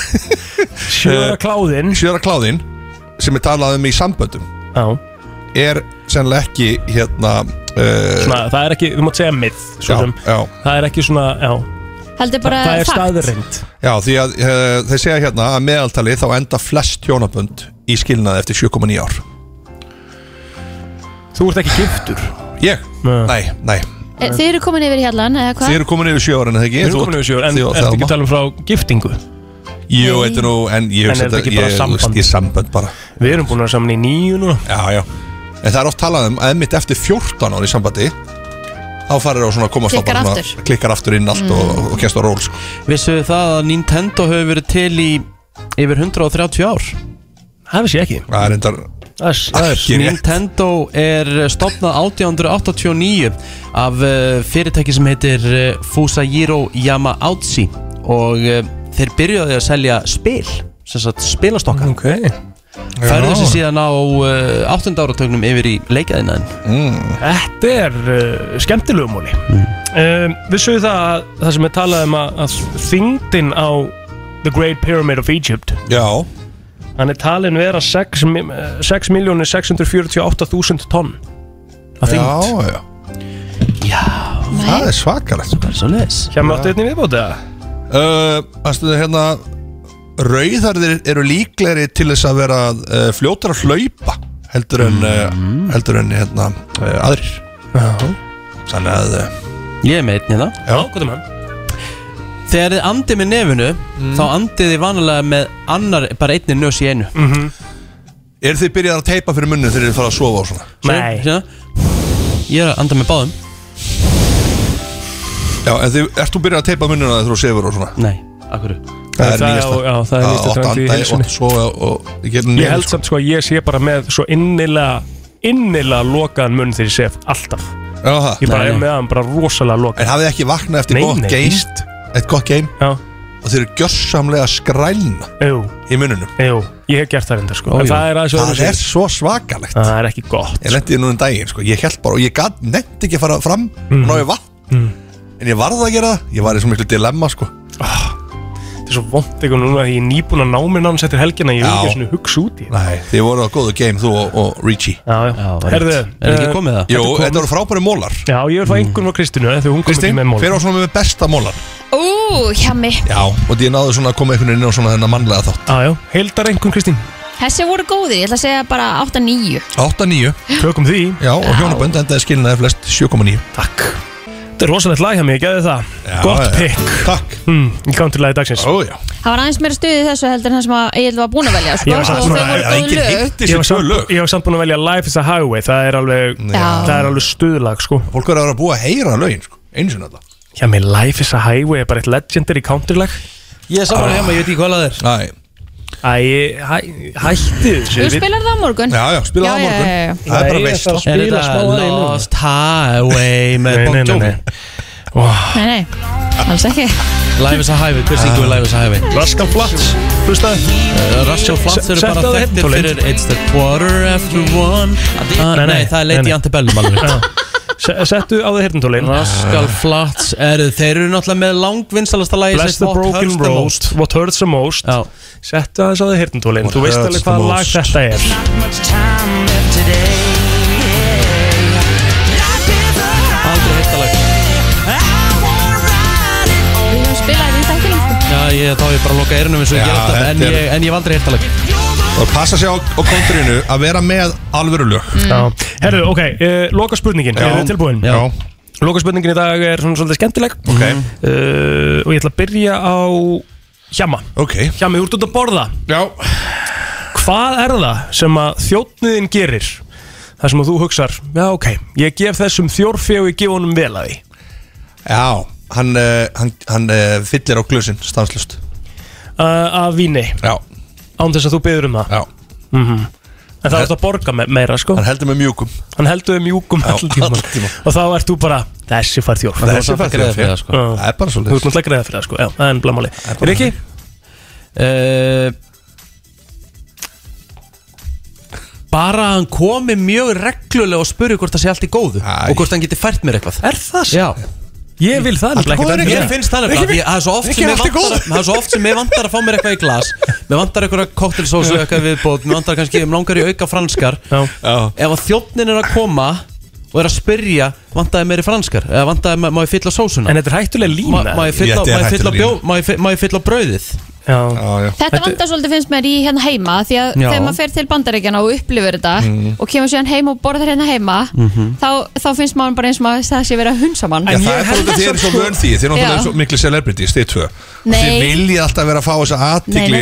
Sjöra kláðinn Sjöra kláðinn Sem er talað um í samböndum Já Er sennilega ekki hérna uh, Svona, það er ekki, þú mátt segja mið svo Já, sem. já. Það er ekki svona, já Heldur bara Það er fact. staðreind Já því að uh, þeir segja hérna að meðaltali þá enda flest hjónabönd í skilnaði eftir 7,9 ár Þú ert ekki giftur Ég? Ah. Nei, nei E, Þið eru komin yfir í hérlan eða Þið hvað? eru komin yfir sjö ára en það ekki Við erum komin yfir sjór En Þú- ertu Þelma. ekki að tala um frá giftingu Jú, þetta er nú, en ég En hugsa er þetta þetta- ekki bara ég- samband? þú veist, Ég samband bara Við erum búin að vera saman í nýju núna Já, já En það er oft talað um að mitt eftir 14 ári sambandi Þá farir það svona að komast á Klikkar bara aftur. Mm. Klikkar aftur inn allt og, og kemst á ról sko. Vissuðu það að Nintendo hefur verið til í yfir 130 ár Það vissi ég ekki Það er endar Það er- það er Ekki rétt. Nintendo er stopnað 1889 af eh, fyrirtæki sem heitir eh, Fusajiro Yamauchi og eh, þeir byrjuði að selja spil sem sagt spilastokka Ok færðu þessi síðan á eh, 8. áratögnum yfir í leikaðinan mm. Þetta er uh, skemmtilegu múli um, Við sögum það að það sem er talað um að, að þyngdin á The Great Pyramid of Egypt Já Hann er talin vera eh, 6.648.000 tonn að þyngd Já, já Það er svakalegt Það er svo leis Hjá með áttu einnig viðbóti eða? uh, Það er hérna Rauðarðir eru líklegri til þess að vera uh, fljótar að hlaupa heldur en, uh, heldur en hérna, uh, aðrir Já Þannig að uh, Ég er með einn hérna Já, hvað er með hann? Þegar þið andið með nefinu þá andið þið vanalega með annar bara einni nös í einu Er þið byrjað að teipa fyrir munni þegar þið fara að sofa á svona? Nei ég er að anda með báðum Já, en þið, ert þú byrjað að teipa munnuna þegar þú sefur og svona? Nei, akkur Það er Það er- nýjasta já, það er nýjasta Átt trend í anda, heilsunni. átt sofa og ég gerum Ég held samt sko að ég sé bara með svo innilega innilega lokaðan munn þegar ég sef alltaf Já, það Ég bara er með hann bara rosalega lokaðan En hafið þið ekki vaknað eftir Nei, gott nei. geist Eitt gott geim Já Og þeir eru gjörsamlega skrælna Jú Í munnunum Jú, ég hef gert það reyndar sko Ó, En jú. það er aðeins Það öðruvísi. er svo svakalegt Það er ekki gott Ég lendi nú um daginn sko Ég held bara Og ég gat nefnt ekki að fara fram Mm. Og ná ég vatn En ég varð að gera það Ég var í svo miklu dilemma sko Þetta er svo vond eitthvað núna að ég er nýbúin að náminn hans eftir helgina Ég vil Já. ekki svona hugsa út í Nei, þið voru á góðu game þú og, og Richie Já, já, var Herðu, rétt. Er ekki eh, komið Mm. það? Jú, þetta er komið. þetta voru frábæri mólar Já, ég vil fá einhvern frá Kristínu eh, Þegar hún kom ekki Kristín, með mól hver á svona með besta mólar? Ú, hjami Já, og ég náðu svona að koma einhvern veginn inn á svona þennan mannlega þátt Já, já, heldar einhvern Kristín Þessi voru góðir, ég ætla að segja bara 8-9 8-9 Tökum því Já, og hjónabönd endaði skilnaði flest 7,9 Takk Þetta er rosalegt lag hjá mig, ég geði það Já, Gott já. pick Takk mm, Ég kom til lagið dagsins Ó, já Það var aðeins meira stuðið þessu heldur en það sem að Egil var búin að velja Ég sko, var samt og þau búin voru að- að góð enginn lög hitti Ég var samt- ég var samt búin að velja Life is a Highway Það er alveg, Já. það er alveg stuðlag sko Fólk verður að búa að heyra lögin sko Eins og náttúrulega Já, mér Life is a Highway er bara eitt legendary country lag Ég er saman hjá mig, ég veit ekki hvað lag það er Æ, hæ, hætti Þú spilar það á morgun Já, já, já, já. Er þetta Lost Highway með Nei, Bon nei, nei, Jovi? nei. Nei, nei, alls ekki Live is a highway, hver syngur Ah. við Live is a highway? Rascal Flats, <laughs> hlustaði Rascal Flats eru Se- bara settu á það þekktir heyrnartólin. fyrir It's the quarter after one Ah, Nei, nei, Nei, það er nei, Lady nei. Antebellum <laughs> alveg Se- Settu á þið hirtintólin Rascal Flats eru, þeir eru náttúrulega með langvinnsalasta lagi Bless the broken road, what hurts the most Settu aðeins á þið hirtintólin Þú veist hurts alveg the hvaða lag most. þetta er Aldrei hitt að lag Við höfum spilað því þættir Já, ég, þá ég bara að loka eirunum eins og ég Já, gera alltaf en, þetta er- ég- en ég hef aldrei hitt að lag Og passa sér á, á kontrinu að vera með alvöru lög Já. Herru, ok, uh, loka spurningin Já. Er þið tilbúin? Mm. Já. Loka spurningin í dag er svona svolítið skemmtileg Ok uh, Og ég ætla að byrja á Hjama Ok Hjama, þú ert út að borða Já Hvað er það sem að þjóttniðin gerir? Það sem að þú hugsar Já, ok, ég gef þessum þjórfi og ég gef honum vel að því Já, hann, uh, hann, hann uh, fyllir á glösin stanslust uh, Af víni Já Án þess að þú byður um það Já Mhm. En það ert að borga me meira, sko Hann heldur með mjúkum Hann heldur við mjúkum all tíma Og þá ert þú bara, þessi fær þjórf En þú ert samt að greiða fyrir það, sko. Já. Það er bara svoleiðis. Þú ert náttúrulega greiða fyrir það sko, já, það er blamáli Riki? uh, Bara að hann komi mjög reglulega og spurði hvort það sé allt í góðu og hvort hann geti fært mér eitthvað Er það Já Ég vil það Allt nefnilega góður ekki ekki Mér endilega. finnst það Ekki nefnilega því að Það er svo oft ekki sem mér allt í vantar að- það er svo oft sem mér vantar að fá mér eitthvað í glas Mér vantar eitthvað koktelsósu eitthvað viðbót Mér vantar kannski um langar í auka franskar Já. Ef að þjófnin er að koma og er að spyrja vantaði meiri franskar eða vantaði ma- má ég fylla sósuna En þetta er hættulega Má lína. má ég fylla- má ég Þetta er fylla hættuleg bjó- má ég fy- má ég fylla brauðið Já, já Þetta vandar svolítið finnst mér í hérna heima því að Já. þegar maður fer til bandaríkjana og upplifir þetta Mhm. og kemur síðan heim og borðar hérna heima Mhm. þá, þá finnst maður bara eins og maður það sé verið að hunsa mann Já, það er bara út af því að þið eru svo vön því Þið eru náttúrulega svo miklu celebrities, þið tvö Nei. Þið viljið alltaf vera að fá þessa aðtigli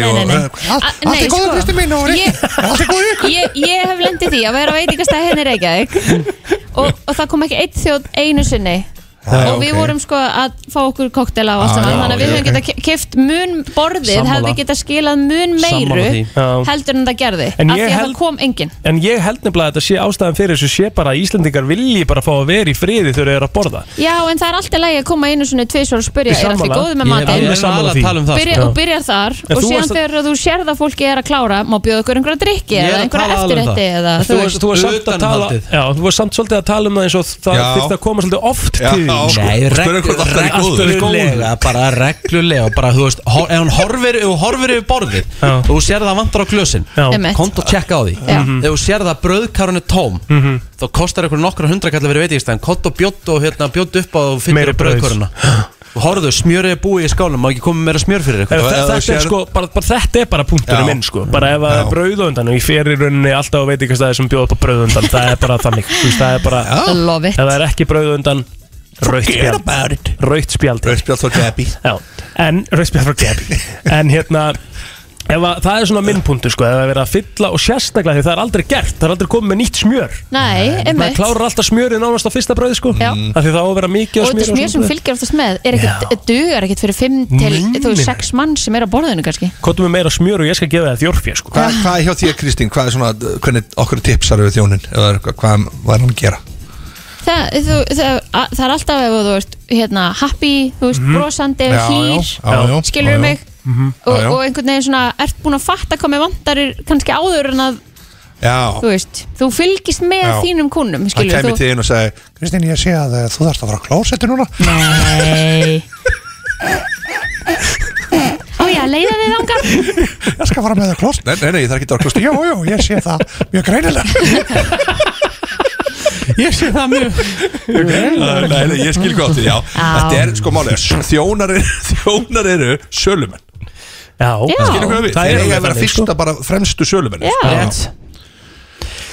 Allt sko. er góður, Kristín mín, og allt er góður ég, ég hef lendið því að vera á veitingastæði henni Reykjavík og, og það kom ekki eitt þjóð einu sinni Já, og við ok. vorum sko að fá okkur koktela og Ah, allt saman já, þannig að við ok, höfum ok. getað keft mun borðið Sammála. hefði getað skilað mun Sammála meiru því. Já. heldur en það gerði En af ég því að held- það kom enginn En ég held nefnilega að þetta sé ástæðan fyrir þessu sé bara að Íslendingar vilji bara fá að vera í friði þegar þeir eru að borða Já, en það er alltaf lægi að koma einu svona tvisvar og spyrja, Ég er allt í sammála. góðu með Ég matinn? er alveg sammála því. um sko. Byrja, Já. og byrjar þar En og þú síðan varst að- þegar þú sér það fólki er að klára má bjóða ykkur einhverja drikki Ég er eða að einhverja tala alveg um eftirrétti það. eða En Þú veist, þú varst samt að tala Utanumhaldið. Já, þú varst samt svolítið að tala um það eins og það Já. þyrfti að koma svolítið oft Já, til þín, sko. Nei, Spyrja reglu- hvort allt er í góðu. reglulega bara reglulega bara, þú veist, hor, ef hún horfir, ef hún horfir yfir borðið og þú sér það vantar á glösin Einmitt. kont og tjekka á því Já. ef þú sér það að bröðkarun er tóm þá kostar ykkur nokkra hundrakallar verið veitingstæðan kont og bjótt og hérna, bjótt upp á og finnir Meira brauð. bröðkaruna og horfðu, smjörið er búið í skálum má ekki koma meira smjör fyrir En ykkur þe- Þetta er sko, bara, bara þetta er bara punkturinn Já. minn sko Bara ef það er brauð á undan og ég fer í rauninni alltaf á veitingastæði sem bjóða upp á brauð á undan Það er bara þannig, þú veist, það er bara Love it Ef það er ekki brauð á undan, rautt spjald Rautt spjald Rauðspjald frá Gabby Já, en rauðspjald frá Gabby En hérna Ef að, það er svona minnpuntu sko, ef að vera að fylla og sérstaklega því það er aldrei gert, það er aldrei komið með nýtt smjör Nei, Það einmitt klárar alltaf smjörið nánast á fyrsta brauð sko Já. Af Því það á að vera mikið á Og þetta smjör smjör sem fylgir oftast með er ekkert, dugar ekkert fyrir 5 til Nei, þú nei. 6 mann sem er á borðinu kannski Kottum við meira smjör og ég skal gefa það þjórfjör sko Hva, Hvað er hjá því Kristín, hvað er svona hvernig okkur tipsar við þjónin eða er eitthvað, hvað hvað er hann að gera Það, þú, það, að, það er alltaf ef þú ert hérna, happy, þú veist, Mhm. brosandi, Já, já, Eh, hlýr, já, já, skilur já, já. mig Mhm. og, Já, já. og einhvern veginn svona, ert búin að fatta hvað með vandarir kannski áður en að, þú Já, veist, þú fylgist með Já. þínum kunnum, hann skilur kemur þú til þín og segi Kristín, ég sé að eh, þú þarfst að fara á klósetti núna Nei Ó já, leiða þig þangar <laughs> Ég skal fara með það klósetti Nei, nei, nei, ég þarf ekki að fara á klósetti Jó, jó, ég sé það, mjög greinilega Ég sé það mjög Nei, nei, ég skil gott, já Þetta er sko máli, þjónar eru <laughs> þjónar eru sölumenn Já, Já. skilur hvað við Þeir Það er eiga alveg að vera þannig, sko. fyrsta bara fremstu sölumenn Já. Rétt.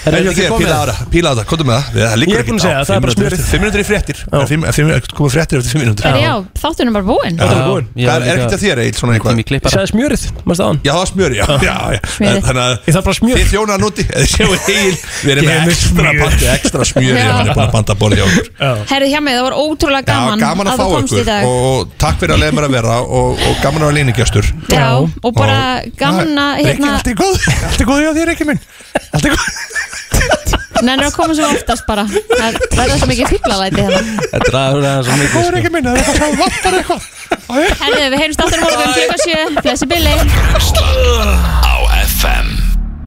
Það er ekki ekki þér, komið? píla ára, píla ára, komdu með það Við- Það Ég liggur er ekki búinn að segja það, það er bara smjörið. Fimm minútur í fréttir Það er fimm- fimm- Komum fréttir eftir fimm minútur Já, þáttunum bara búinn Já. er búinn. Hvað er ekkert að þér, Egil, svona eitthvað? Ég sagði smjörið, maður staðan Já, það var smjöri, já, já, já. Smjörið. Þannig að Ég þarf bara smjör þið þjónar núti, <laughs> eða sjáu Egil Við erum Gefið með ekstra smjör. panti, ekstra smjöri Já. Hann er búin að panta borðið á okkur Herrið hjá mig, það var ótrúlega Já, gaman, gaman að fá þú komst í ykkur dag og, og takk fyrir að leiða mér að vera og, og gaman að vera líningjastur Já, og bara gaman að Rikki, hérna, allt er góð, allt er góð hjá þér, Rikki minn Allt er góð nennir að koma sem oftast bara Það verða svo mikið fíklalæti hérna Þetta er aðeins svo mikið Góð, sko. Rikki minn, það er eitthvað sem vantar eitthvað Herrið, við heyrumst áttunum morgun, klukka sjö, blessi billi Brennslan